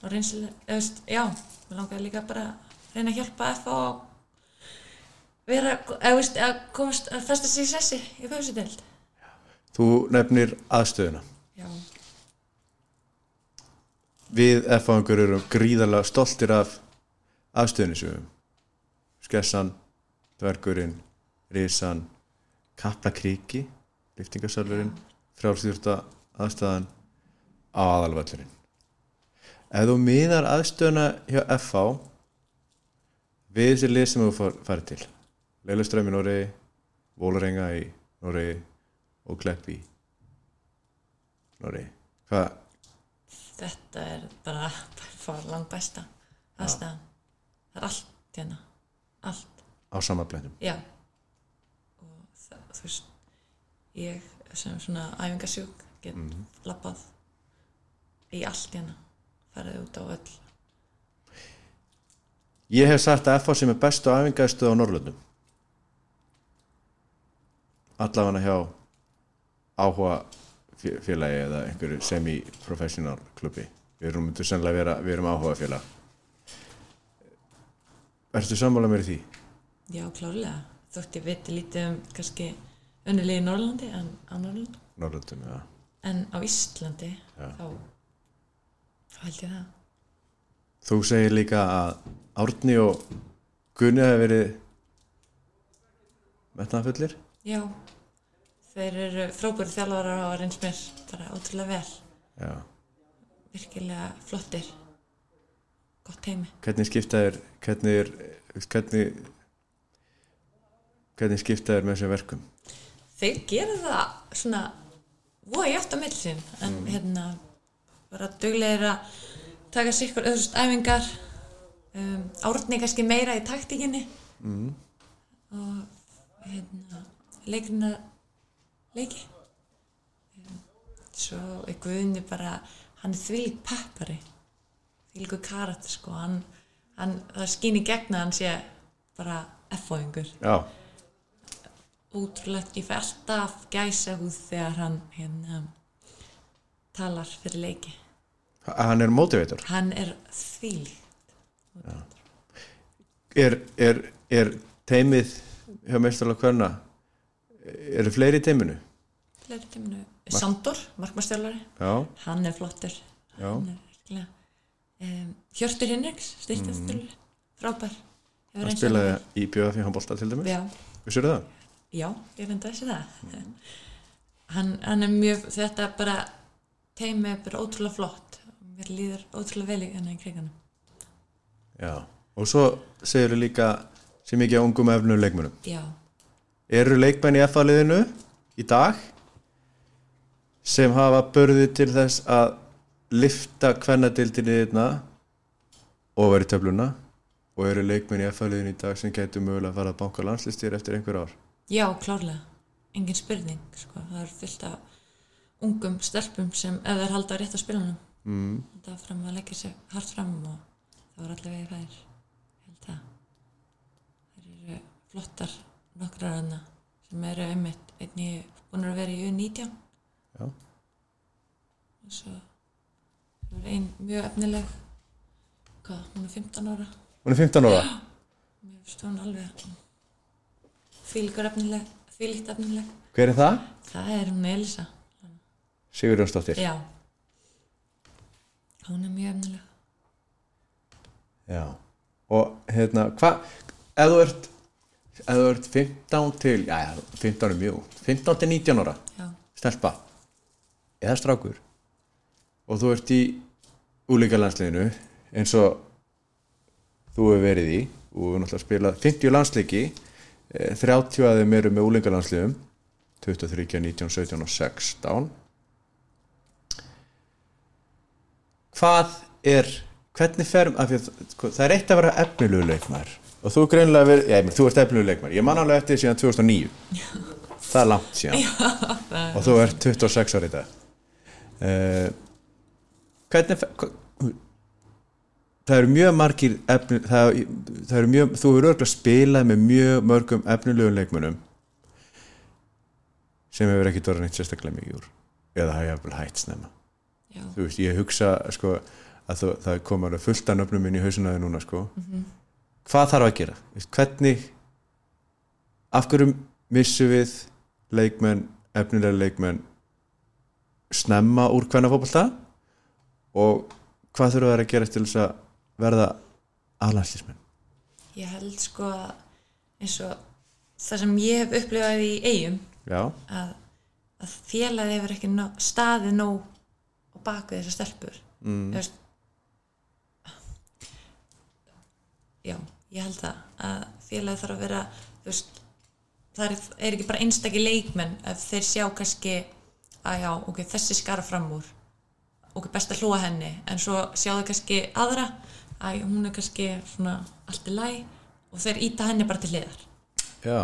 og reynslu, eða veist, já mér langaði líka bara að reyna að hjálpa FH að vera, eða veist, að komast að festa sig í sessi í fjöfsideld
þú nefnir aðstöðuna
já,
við F-angur erum gríðarlega stoltir af afstöðnisjöfum Skessan, Dvergurinn Risan, Kaplakríki Liftingasalverinn frjálsýrta aðstæðan á aðalvallurinn ef þú miðar aðstöðuna hjá FH við þessi lið sem þú far- farið til Leiluström í Noregi Vólarenga í Noregi og Klepp í Noregi hvað
þetta er bara fór langt besta aðstæðan það er allt hérna, allt
á sama blendum
já og það, þú veist ég sem svona æfingasjúk get labbað í allt hérna farið út á öll
Ég hef sagt að FH sem er bestu æfingastöð á Norrlöndum Allafana hjá áhuga fé- félagi eða einhverju semi-professional klubbi Við erum myndu sennilega vera, við erum áhuga félag Ertu sammála mér í því?
já, klárlega þótt ég viti lítið um kannski önnulegi í Norrlandi en á Norrlandi
Norrlöndum, já
en á Íslandi þá, þá held ég það
Þú segir líka að Árni og Gunni hefur verið metnaðfullir
já, þeir eru frábæri þjálfarar og reyns mér bara ótrúlega vel
Já
virkilega flottir gott heimi
hvernig skipta þér hvernig, er, hvernig hvernig skipta þér með þessum verkum
þeir gera það svona voða játt á milli sín en hérna bara duglegir að taka sér ykkur öðrust æfingar um, árni kannski meira í taktíkinni mm. og hérna leikrina leiki um, svo er Guðni bara hann er þvílík peppari þvílíku karat sko hann, hann, það skýn í gegna hann sé bara F-fóðingur
já,
útrúlegt, ég fæ alltaf gæsa húð þegar hann hérna, talar fyrir leiki
H- hann er motivator
hann er þvílík
er, er, er teimið hjá meistarlega hverna eru fleiri í teiminu
fleiri tíminu, Sandor, markmannstjálfari
já,
hann er flottur
Já.
Hann er virkilega, um, Hjörtur Hinriks, styrkjastjálfari frábær Hefur
Mhm. hann
reynst
spilaði í BF í handbólta til
vel.
dæmis
já,
vissur það?
já, ég reyndi þessi það hann, hann er mjög þetta bara teimi er bara ótrúlega flott mér líður ótrúlega vel í hennar í kriganum
já, og svo segirðu líka sem ekki á ungum efnum leikmönum
já,
eru leikmenn í F-liðinu í dag sem hafa börði til þess að lifta kvennadildinni þarna ofar í töfluna og eru leikmenn í F-liðinu í dag sem getur mögulega að fara að banka landslistir eftir einhver ár
Já, klárlega, engin spurning sko. það er fullt af ungum stelpum sem ef þeir halda rétt á spilunum mm. það fram að leggja sér hart fram og það var allavega fær held að það eru flottar nokkrar hana sem eru einmitt einni búin að vera í U19
Já.
og svo það var ein mjög efnileg hvað, hún er 15 ára
hún er 15 ára
mér finnst hún alveg fylgur efnileg fylgt efnileg
hver er það?
Það er hún Elisa
Sigur Jónsdóttir
Já Hún er mjög efnileg
Já. og hérna, hvað ef þú ert ef þú ert 15 til já, 15 er mjög ungt, 15 til 19 ára
já,
stelpa eða strákur og þú ert í úlíka landsliðinu eins og þú hefur verið í og við náttúrulega spilað 50 landsleiki eh, 30 að þeim eru með úlíka landsliðum 23, 19, 17 og 16 hvað er hvernig fer af því að sko, það er eitt að vera efnilegu leikmar og þú greinlega verið, já, ég meina, þú ert efnilegu leikmar ég man alveg eftir því síðan 2009 það er langt síðan og þú ert 26 ári í dag uh, hvernig fe- hva- það eru mjög margir efni, það, það eru mjög, þú eru örgulega spilað með mjög mörgum efnilegum leikmunum sem hefur ekki dóra neitt sérstaklega mikið úr eða hafa jafnvel hætt snemma
já,
þú veist, ég hugsa sko, að þú, það koma alveg fullt af nöfnum minn í hausunaði núna sko. hvað þarf að gera? Þú veist, hvernig af hverju missum við leikmenn, efnilega leikmenn snemma úr hvernig fótbolta og hvað þurfa þær að gera til þess að verða aðlandslismenn?
ég held sko að eins og það sem ég hef upplifað í eigum
Já,
að, að félagið hefur ekki ná, staðið nóg og bakið þessar stelpur mm. veist, já, ég held það að félagið þarf að vera þú veist, það er, er ekki bara einstakki leikmenn ef þeir sjá kannski að já, ok, þessi skara fram úr ok, best að hlúa henni en svo sjá þau kannski aðra að hún er kannski svona allt í læ og þeir íta henni bara til hliðar
já,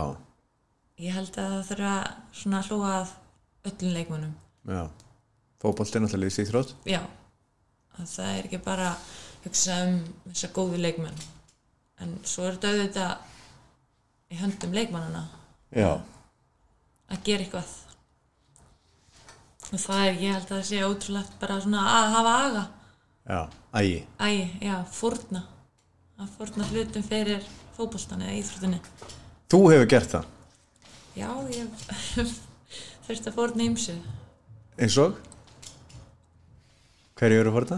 Ég held að það þurfa svona að hlúa að öllum leikmunum.
já fótbolta er náttúrulega lýsið þrótt
Já, að það er ekki bara að hugsa um þessa góðu leikmenn. En svo er þetta auðvitað í höndum leikmannana
Já,
að gera eitthvað. Og það er, ég held að það sé ótrúlegt bara svona að hafa aga.
já, ægi
Æ, já, fórna. Að fórna hlutum fyrir fótboltan eða íþróttinni.
Þú hefur gert það
Já, ég þurfti að fórna ymsu.
eins og hverju eru fórta?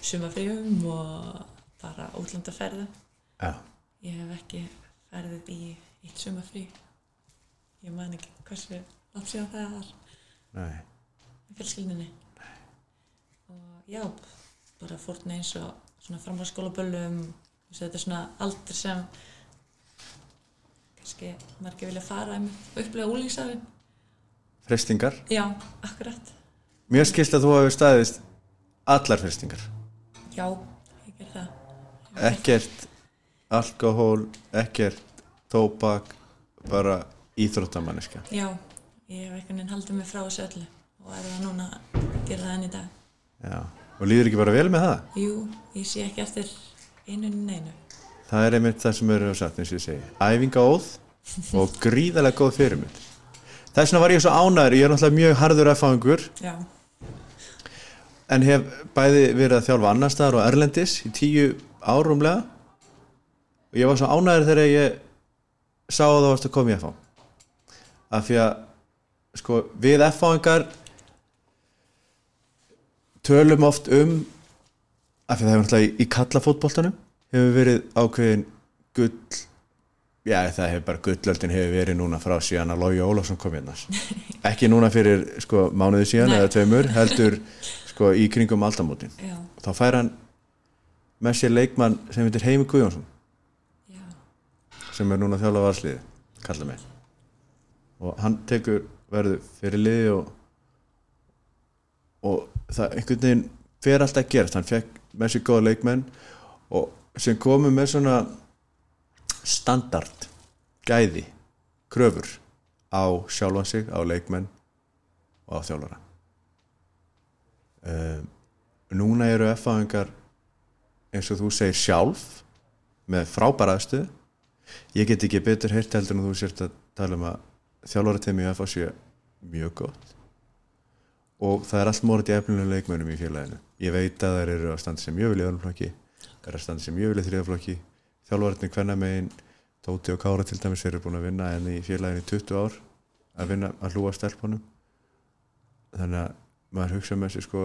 sumafríum og bara útlandaferðu.
Já,
Ég hef ekki ferðið í eitt sumafrí. Ég man ekki hversu langt síðan það var
nei
með fjölskyldinni. Og já, bara fórna eins og svona framhaldsskólaböllum, þú veist, þetta er svona aldur sem kannski margir vilja fara um upplega úlíksafin.
Frestingar
Já, akkurat.
Mér skilst að þú hefur staðist allar fristingar
Já, ég ger það.
ekkert alkohól ekkert tóbak bara íþróttamanniska
Já, ég hef einhvern veginn haldið mig frá þessu öllu og er það núna að gera það enn í dag.
Já. og líður ekki bara vel með það
Jú, ég sé ekki eftir einu en einu.
það er einmitt það sem eru að satt eins og ég segi æfingaóð og gríðarlega góð fyrirmynd þess vegna var ég svo ánæður ég er náttúrulega mjög harður erfáingur
Já,
en hef bæði verið að þjálfa annar staðar og erlendis í tíu árumlega og ég var svo ánæður þegar ég sá að það varst að koma í FH af því að sko, við FH-ingar tölum oft um af því að það hefur náttúrulega í kallafótboltanum hefur verið ákveðin gull já það hefur bara gullöldin hefur verið núna frá síðan að Lógi Ólafsson kom hérna ekki núna fyrir sko mánuði síðan
Nei.
eða tveimur heldur sko í kringum aldamótin
já,
þá fær hann með sér leikmann sem heitir Heimi Guðjónsson
já,
sem er núna að þjálfa varsliði kalla mig og hann tekur verðu fyrir liði og og það einhvern veginn fer allt að gerast, hann fekk með sér góða leikmenn og sem komu með svona standard gæði, kröfur á sjálfan sig, á leikmenn og á þjálfara um, núna eru F-aðingar eins og þú segir sjálf með frábæra aðstöðu ég get ekki betur heyrt heldur en þú sért að tala um að þjálfara teimi í FH sé mjög gott og það er allt morðið í efnilegum leikmönnum í félaginu ég veit að þær eru að standa sem mjög vilja öðrumflokki þær eru að standa sem mjög vilja þriðaflokki þjálfararnir hvenna megin Tóti og Kára til dæmis eru búin að vinna en í félaginu í 20 ár að vinna að hlúa stelpunum þannig að maður hugsa með sér sko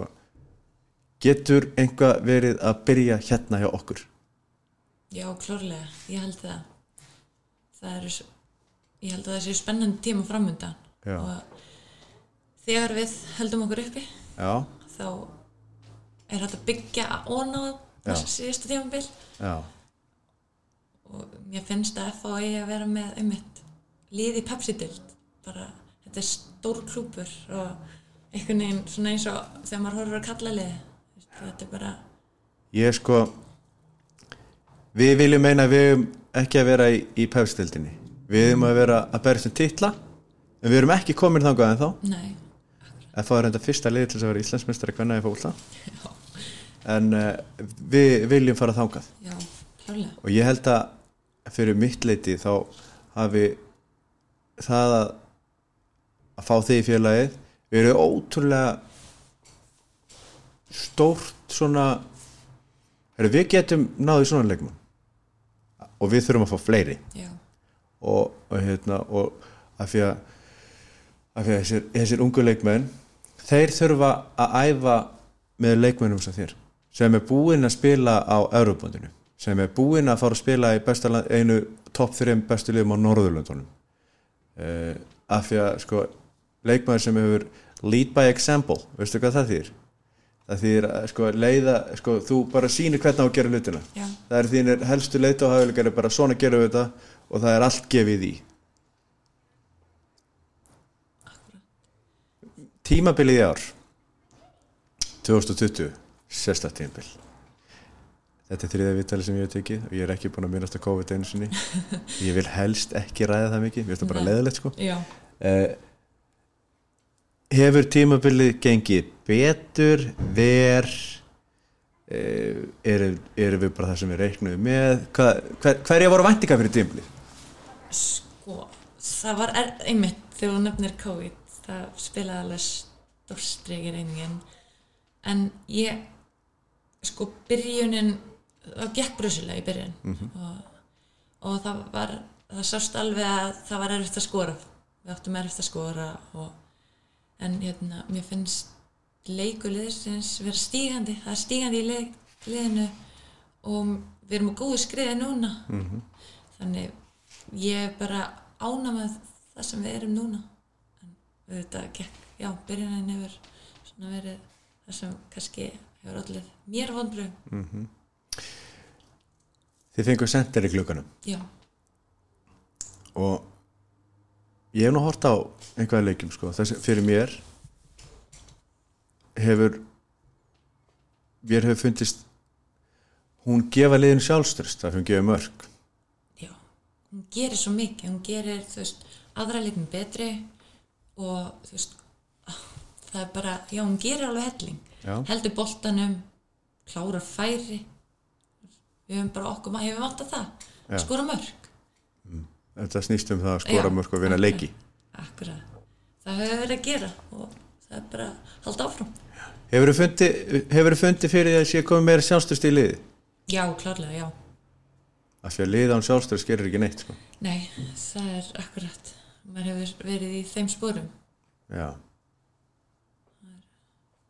getur einhvað verið að byrja hérna hjá okkur
já, klárlega, ég held það. það eru s- ég held að það séu spennandi tíma framöndan
Já.
og þegar við heldum okkur uppi
já,
þá er hægt að byggja ón á
Já.
síðustu tímabil
já,
og mér finnst að FA eigi að vera með einmitt liði Pepsi-dild bara, þetta er stór klúpur og einhvern veginn svona eins og þegar maður horfir að kalla liði þetta er bara,
ég sko við viljum meina að við erum ekki að vera í, í pefstildinni við erum að vera að berja sem titla en við erum ekki komin þangað en þá
nei
en það er enda fyrsta liði til þess að vera Íslandsmeistari hvernig að fólta
já,
en uh, við viljum fara þangað
já, klálega
og ég held að fyrir mitt leiti þá hafi það að, að fá þig í félagið verið ótrúlega stórt svona heru, við getum náðu svona leikmann og við þurfum að fá fleiri
já,
og, og hérna og af því að af því að þessir, þessir ungu leikmenn þeir þurfa að æfa með leikmennum sem þér sem er búinn að spila á Európandinu sem er búinn að fara að spila í besta, land- einu topp 3 bestu liðum á Norðurlöndunum uh, af því að sko leikmæður sem hefur lead by example veistu hvað það þýr? það þýr að sko leiða sko, þú bara sýnir hvernig á að gera hlutina
Já.
það er þínir helstu leita og hafilegar bara svona gerum við þetta og það er allt gefið í tímabilið í ár 2020 sérstakt tímabil þetta er þriðja viðtalið sem ég hef tekið og ég er ekki búin að minnast að COVID einu sinni ég vil helst ekki ræða það mikið mér finnst það bara
Nei.
leðilegt sko
já
Eh, hefur tímabilið gengið betur ver eh, erum, erum við bara það sem við reiknum með hva, hver, hverja voru væntingar fyrir tímabilið
sko, það var er, einmitt þegar hún nefnir COVID það spilaði alveg stórstreiki reyningin en ég sko byrjunin það gekk brusilega í byrjun og, og það var það sást alveg að það var erfitt að skora við áttum erfitt að skora og, en hérna, mér finnst leikuliðsins vera stígandi það er stígandi í lið, liðinu og við erum á góðu skriði núna -hmm. þannig ég er bara ána með það sem við erum núna en auðvitað gekk, já, byrjunin hefur svona verið það sem kannski hefur allir mér vonbröðum
þið fengur sendir í klukkanum
já,
og ég hef nú hort á einhverja leikjum sko, þessi fyrir mér hefur mér hefur fundist hún gefa liðinu sjálfströst af því hún gefa mörg
já hún gerir svo mikið, hún gerir þú veist, aðra leikum betri og þú veist það er bara, já, hún gerir alveg helling
Já.
heldur boltanum klárar færi við höfum bara okkur, ma- hefur vantað það
Já.
skora mörg
þetta snýst um það að skora
Já,
mörg og vinna
akkurat.
leiki
Akkurat. Það hefur verið að gera og það er bara að halda áfram.
Hefur þú fundið, hefur fundið fyrir því að sé komið meira sjálfstyrst í liði?
Já, klárlega, já.
Af því að liða án sjálfstyrst gerir ekki neitt, sko.
Nei, það er akkurat. Maður hefur verið í þeim spórum.
Já.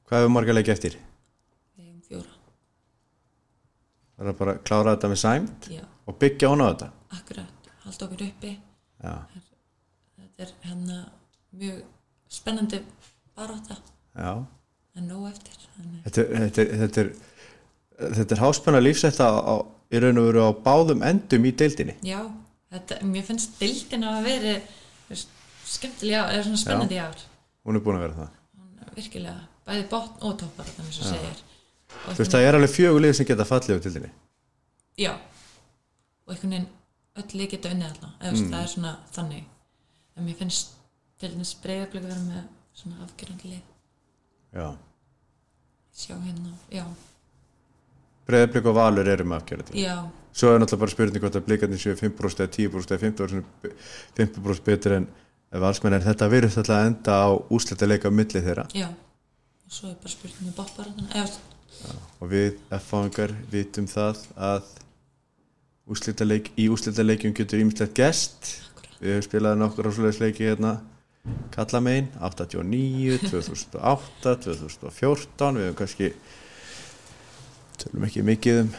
Hvað hefur marga leikið eftir?
Við erum fjóra.
Það er bara að klára þetta með sæmt
Já,
og byggja hona á þetta.
akkurat. Halda okkur uppi.
Já,
Þetta er hérna mjög spennandi baróta
já.
en nóg eftir. Þannig,
Þetta, er- þetta, er- þetta er, þetta er háspenna lífsætt á, á, í raun og veru á báðum endum í deildinni.
já, þetta, mér finnst deildin að vera skemmtilega ár, eða svona spennandi ár.
Hún er búin að vera það.
Hún er Virkilega, bæði botn og toppar, þannig sem segir. Og
Þú veist, það er alveg fjögur lið sem geta fallið á deildinni.
Já og einhvern veginn öll lið geta unnið alltaf eða mm. það er svona þannig en mér finnst til þess breyðablík að vera með svona afgjörandi lið
Já.
sjá hérna, já,
Breiðablik og Valur eru með afgjörða til.
já,
svo er náttúrulega bara spurning hvort að blikarnir séu 5% eða 10% eða 15% be- 15% betur en valsmenn en þetta virðist alltaf að enda á úsleta leika á milli þeirra
já og svo er bara spurt með bóttbarðan eða,
og við F-fangar vitum það að úsleta leik, í úsleta leikjum getur ímislegt gest
Akkúrat.
við höfum spilað nokkur ásvoleiðis leiki hérna Kallamein, 89, 2008 2014, við höfum kannski tölum ekki mikið um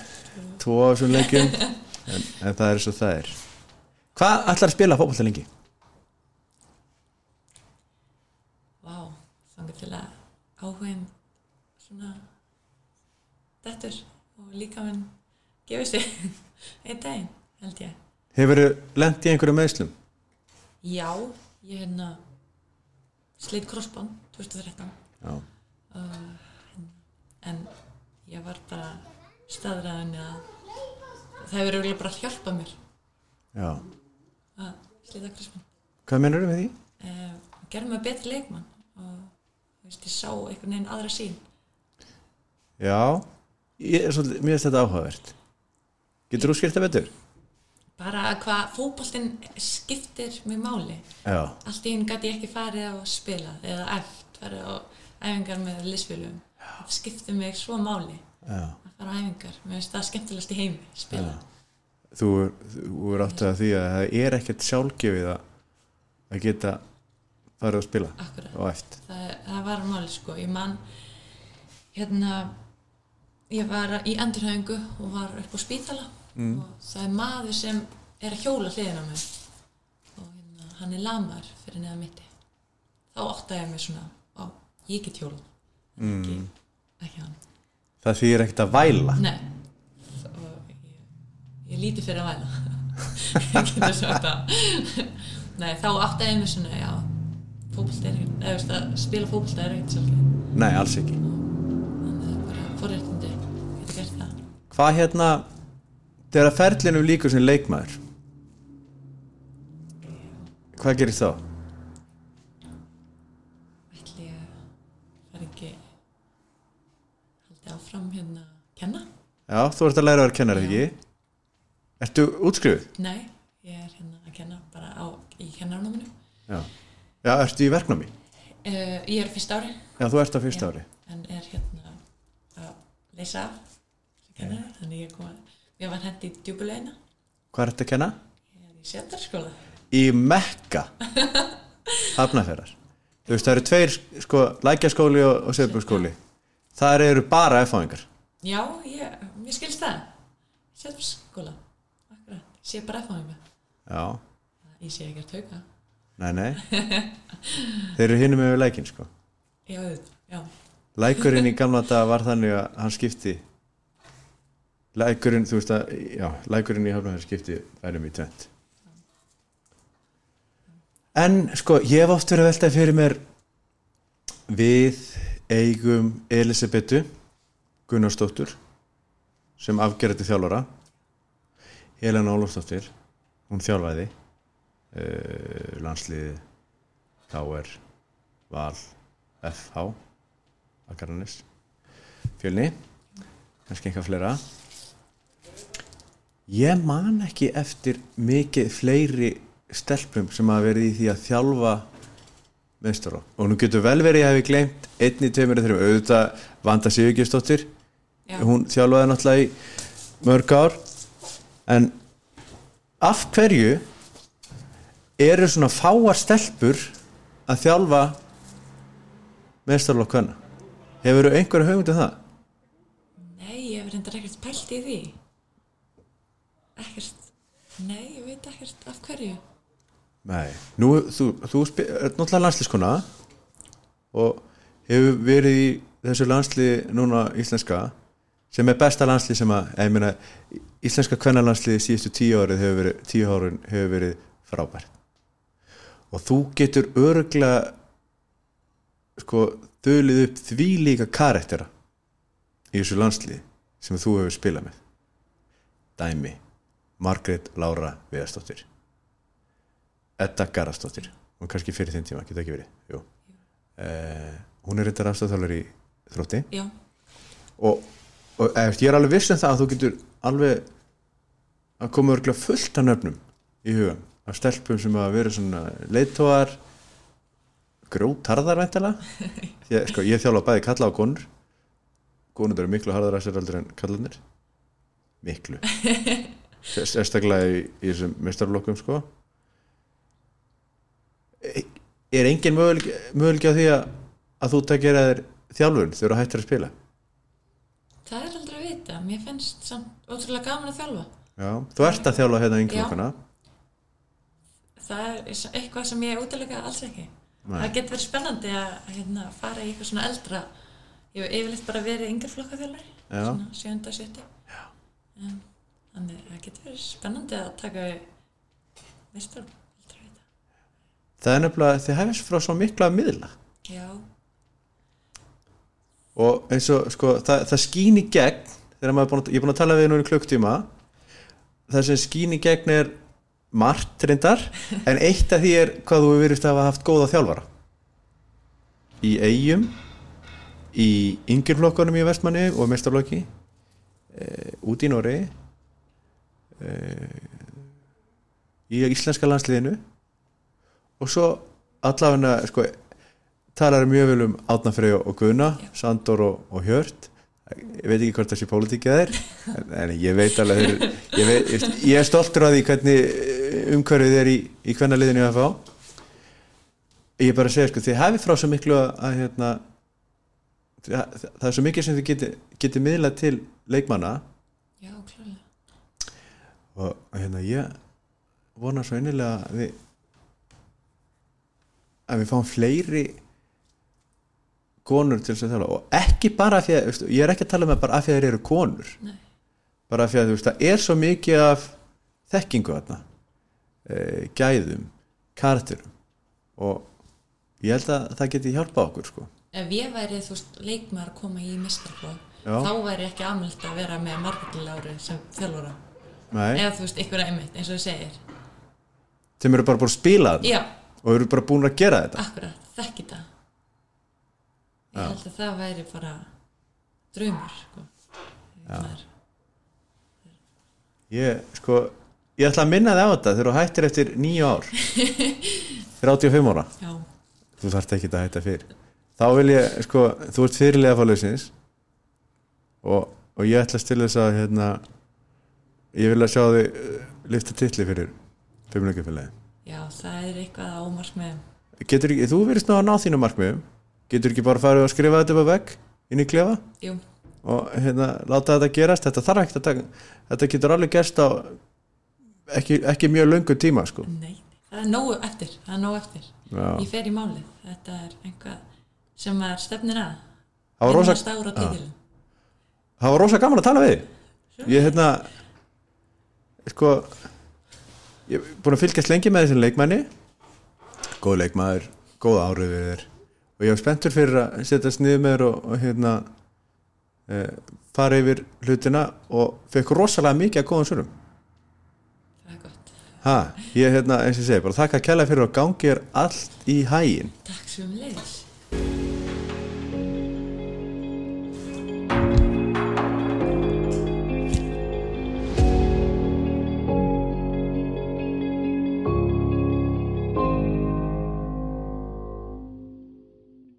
tvo af þessum leikjum en, en það er svo það er Hvað ætlar að spila fótbolta lengi?
Vá, þangar til að áhugin svona dettur og líka minn gefur sig einn daginn, held ég.
Hefur þið lent í einhverju meðslum?
Já, ég hérna sleitt krossband 2013
Já.
en ég var bara staðræðin að það hefur örugglega bara hjálpað mér
Já.
að slita krossband.
Hvað mennur þið með því?
Uh, gerði mig betri leikmann og þú veist, ég sá einhvern veginn aðra sín.
Já. Ég, er svolítið, mér finnst þetta áhugavert. Getur þú skýrt það betur?
Bara hvað fótboltinn skiptir mig máli.
Já.
allt í hún gæti ég ekki farið og spilað eða æft, farið á æfingar með lisfélugum. Það skipti mig svo máli
Já.
að fara á æfingar. Mér finnst það skemmtilegast í heimi, spila.
Þú, þú er áttið að því að það er ekkert sjálfgefið að, að geta farið að spila
Akkurat.
og eftir.
Það, það var máli, sko. Ég man, hérna, ég var í endurhæfingu og var upp á spítala og það er maður sem er að hjóla hliðina á mér og hérna, hann er lamar fyrir neða mitti. Þá óttaði ég mig svona, á, ég get hjólað, en ekki, ekki hann.
Það þýðir ekkert að væla.
Nei og ég, ég líti fyrir að væla ég getur sagt það Nei, þá átti ég mig svona já, fótbolta er ekkert eða veist að spila fótbolta er ekkert sjálf
Nei, alls ekki.
þannig að það er bara forréttindi getur gert það
Hvað hérna, þegar að ferlinu líkur sem leikmaður, hvað gerist þá?
ætli ég að fara ekki haldi áfram hérna kenna?
Já, þú ert að læra að vera kennari,
Já.
ekki? Ertu útskrifuð?
Nei, ég er hérna að kenna bara á, í kennarnáminu
Já. Já, ertu í verknámi?
uh, ég er fyrst ári
Já, þú ert á fyrsta
Já.
ári.
en er hérna að leysa af sem kennari, þannig ég kom að ég var hendi í djúbulegina
Hvað ertu að kenna?
ég er í sendarskóla
Í Mekka. Hafnaferðar. Þú veist, það eru tveir, sko, lækjaskóli og, og seðbjörnskóli. Það eru bara F-áingar.
já, ég, mér skilst það sendarskóla, akkurat ég sé bara aðfáðum
Já.
mig ég sé ekki að tauka
Nei, nei. Þeir eru hinum yfir lækin, sko.
já, auðvitað, já,
Lækurinn í gamla daga var þannig að hann skipti Lækurinn, þú veist að já, lækurinn í hafnafjörn skipti værum í tvent En sko, ég hef oft verið að velta fyrir mér við eigum Elisabetu Gunnarsdóttur sem afgerði þjálfara Helena Ólafsdóttir hún þjálfaði uh, landsliði KR Val FH Akarnes fjölni kannski einhvað fleira ég man ekki eftir mikið fleiri stelpum sem hafa verið í því að þjálfa meðstara og nú getur vel verið að ég hafi gleymt einni, tveimur, eða þreim auðvitað Vanda Sigurgjörsdóttir
já.
hún þjálfaði náttúrulega í mörg ár en af hverju eru svona fáar stelpur að þjálfa meðstoflokk hvenna hefur þú einhverja hugmynd um það?
nei, ég hef reyndar ekkert pælt í því ekkert nei, ég veit ekkert af hverju
Nei, nú, þú, þú spi- ert náttúrulega landsliskona og hefur verið í þessu landsli núna íslenska sem er besta landsli sem að ég meina, íslenska kvennalandsli síðustu tíu árið hefur verið, tíu árin hefur verið frábært og þú getur öruglega sko þölið upp því líka karaktera í þessu landsli sem þú hefur spilað með Dæmi Margrét Lára Viðarsdóttir Edda Garastóttir hún er kannski fyrir þinn tíma, geta ekki verið Jú. Eh, hún er reyndar afstæðþálar í þrótti
já,
og, og eftir, ég er alveg viss um það að þú getur alveg að koma örgulega fullt af nöfnum í hugan af stelpum sem hafa verið svona leitóar grótarðar væntalega ég, sko, ég þjála bæði kalla á konur konur eru miklu harðar að sér aldrei en kallanir miklu sérstaklega í, í þessum mistarlokkum sko E- er engin möguleik, möguleik á því að, að þú tekir að þér þjálfun þegar þú hættir að spila
það er aldrei að vita mér finnst samt ótrúlega gaman að þjálfa
Já, þú ert að þjálfa hérna yngri
Já.
okkana
það er eitthvað sem ég útilega alls ekki
Nei.
það getur verið spennandi að hérna, fara í eitthvað svona eldra ég hef yfirleitt bara verið yngri flokkafjölari
Já.
svona sjönda, sjötta en þannig að það getur verið spennandi að taka mestur eldra við þetta
það er nefnilega, þið hefist frá svo mikla að miðla
já,
og eins og sko, það, það skín í gegn þegar maður er búin að, ég er búin að tala við þig núna í klukktíma það sem skín í gegn er margt reyndar en eitt af því er hvað þú verist að hafa haft góða þjálfara í eigum í yngirflokkanum í Vestmanni og mestarflokki e, út í Nóri e, í íslenska landsliðinu og svo allavega sko, talar mjög vel um Átnafrey og Guna, Sandor og, og Hjört ég veit ekki hvort það sé pólitíkja þeir en, en ég veit alveg þeir, ég, veit, ég, ég er stoltur af því hvernig eh, umhverfið er í, í hvernig liðinu að fá ég er bara að segja sko, þið hafi frá svo miklu að, að hérna það, það er svo mikið sem þið geti, geti miðlað til leikmanna
já, klárlega
og og hérna ég vona svo innilega að við að við fáum fleiri konur til þess að þjála og ekki bara af því að, veistu, ég er ekki að tala með bara af því að þeir eru konur
Nei.
bara af því að þú veist, það er svo mikið af þekkingu þarna e, gæðum, karakterum og ég held að það geti hjálpað okkur sko
ef ég væri þú veist leikmar að koma í mestarflokk
Já.
þá væri ekki amöld að vera með Margreti Láru sem þjálfara
Nei,
eða þú veist ykkur einmitt eins og þú segir
þeim eru bara búin að spila þarna
já,
og eru bara búin að gera þetta
akkurat, þekki það ég held að það væri bara draumur sko. Maður-
Ég, sko, ég ætla að minna þið á þetta þegar þú hættir eftir nýju ár þegar 85 ára
já,
þú þarft ekki að hætta fyrr þá vil ég, sko, þú ert fyrirlega fólausins og, og ég ætla til þess að hérna, ég vil að sjá þið eh, lyfta titli fyrir fimmleikafélagi
já, það er eitthvað að ómars með
getur ekki, þú verist ná að ná þínu markmiðum getur ekki bara farið að skrifa þetta upp að vegg inn í klefa
jú,
og hérna, láta þetta gerast þetta þarf ekkert að taka, þetta getur alveg gerst á ekki, ekki mjög löngu tíma sko.
nei, það er nógu eftir það er nógu eftir,
Já.
ég fer í málið þetta er eitthvað sem maður stefnir að
Það var rosa-
Minnast ára títilin
það var rosa gaman að tala við þig. ég hérna sko ég er búin að fylgjast lengi með þessum leikmanni góð leikmaður góð árið við þér og ég er spenntur fyrir að setja sniður með þér og, og hérna e, fara yfir hlutina og fekk rosalega mikið að góðan svörum
það er gott,
ha, ég hérna eins og ég segi bara þakka kæla fyrir og gangi er allt í hægin
takk sem leiðis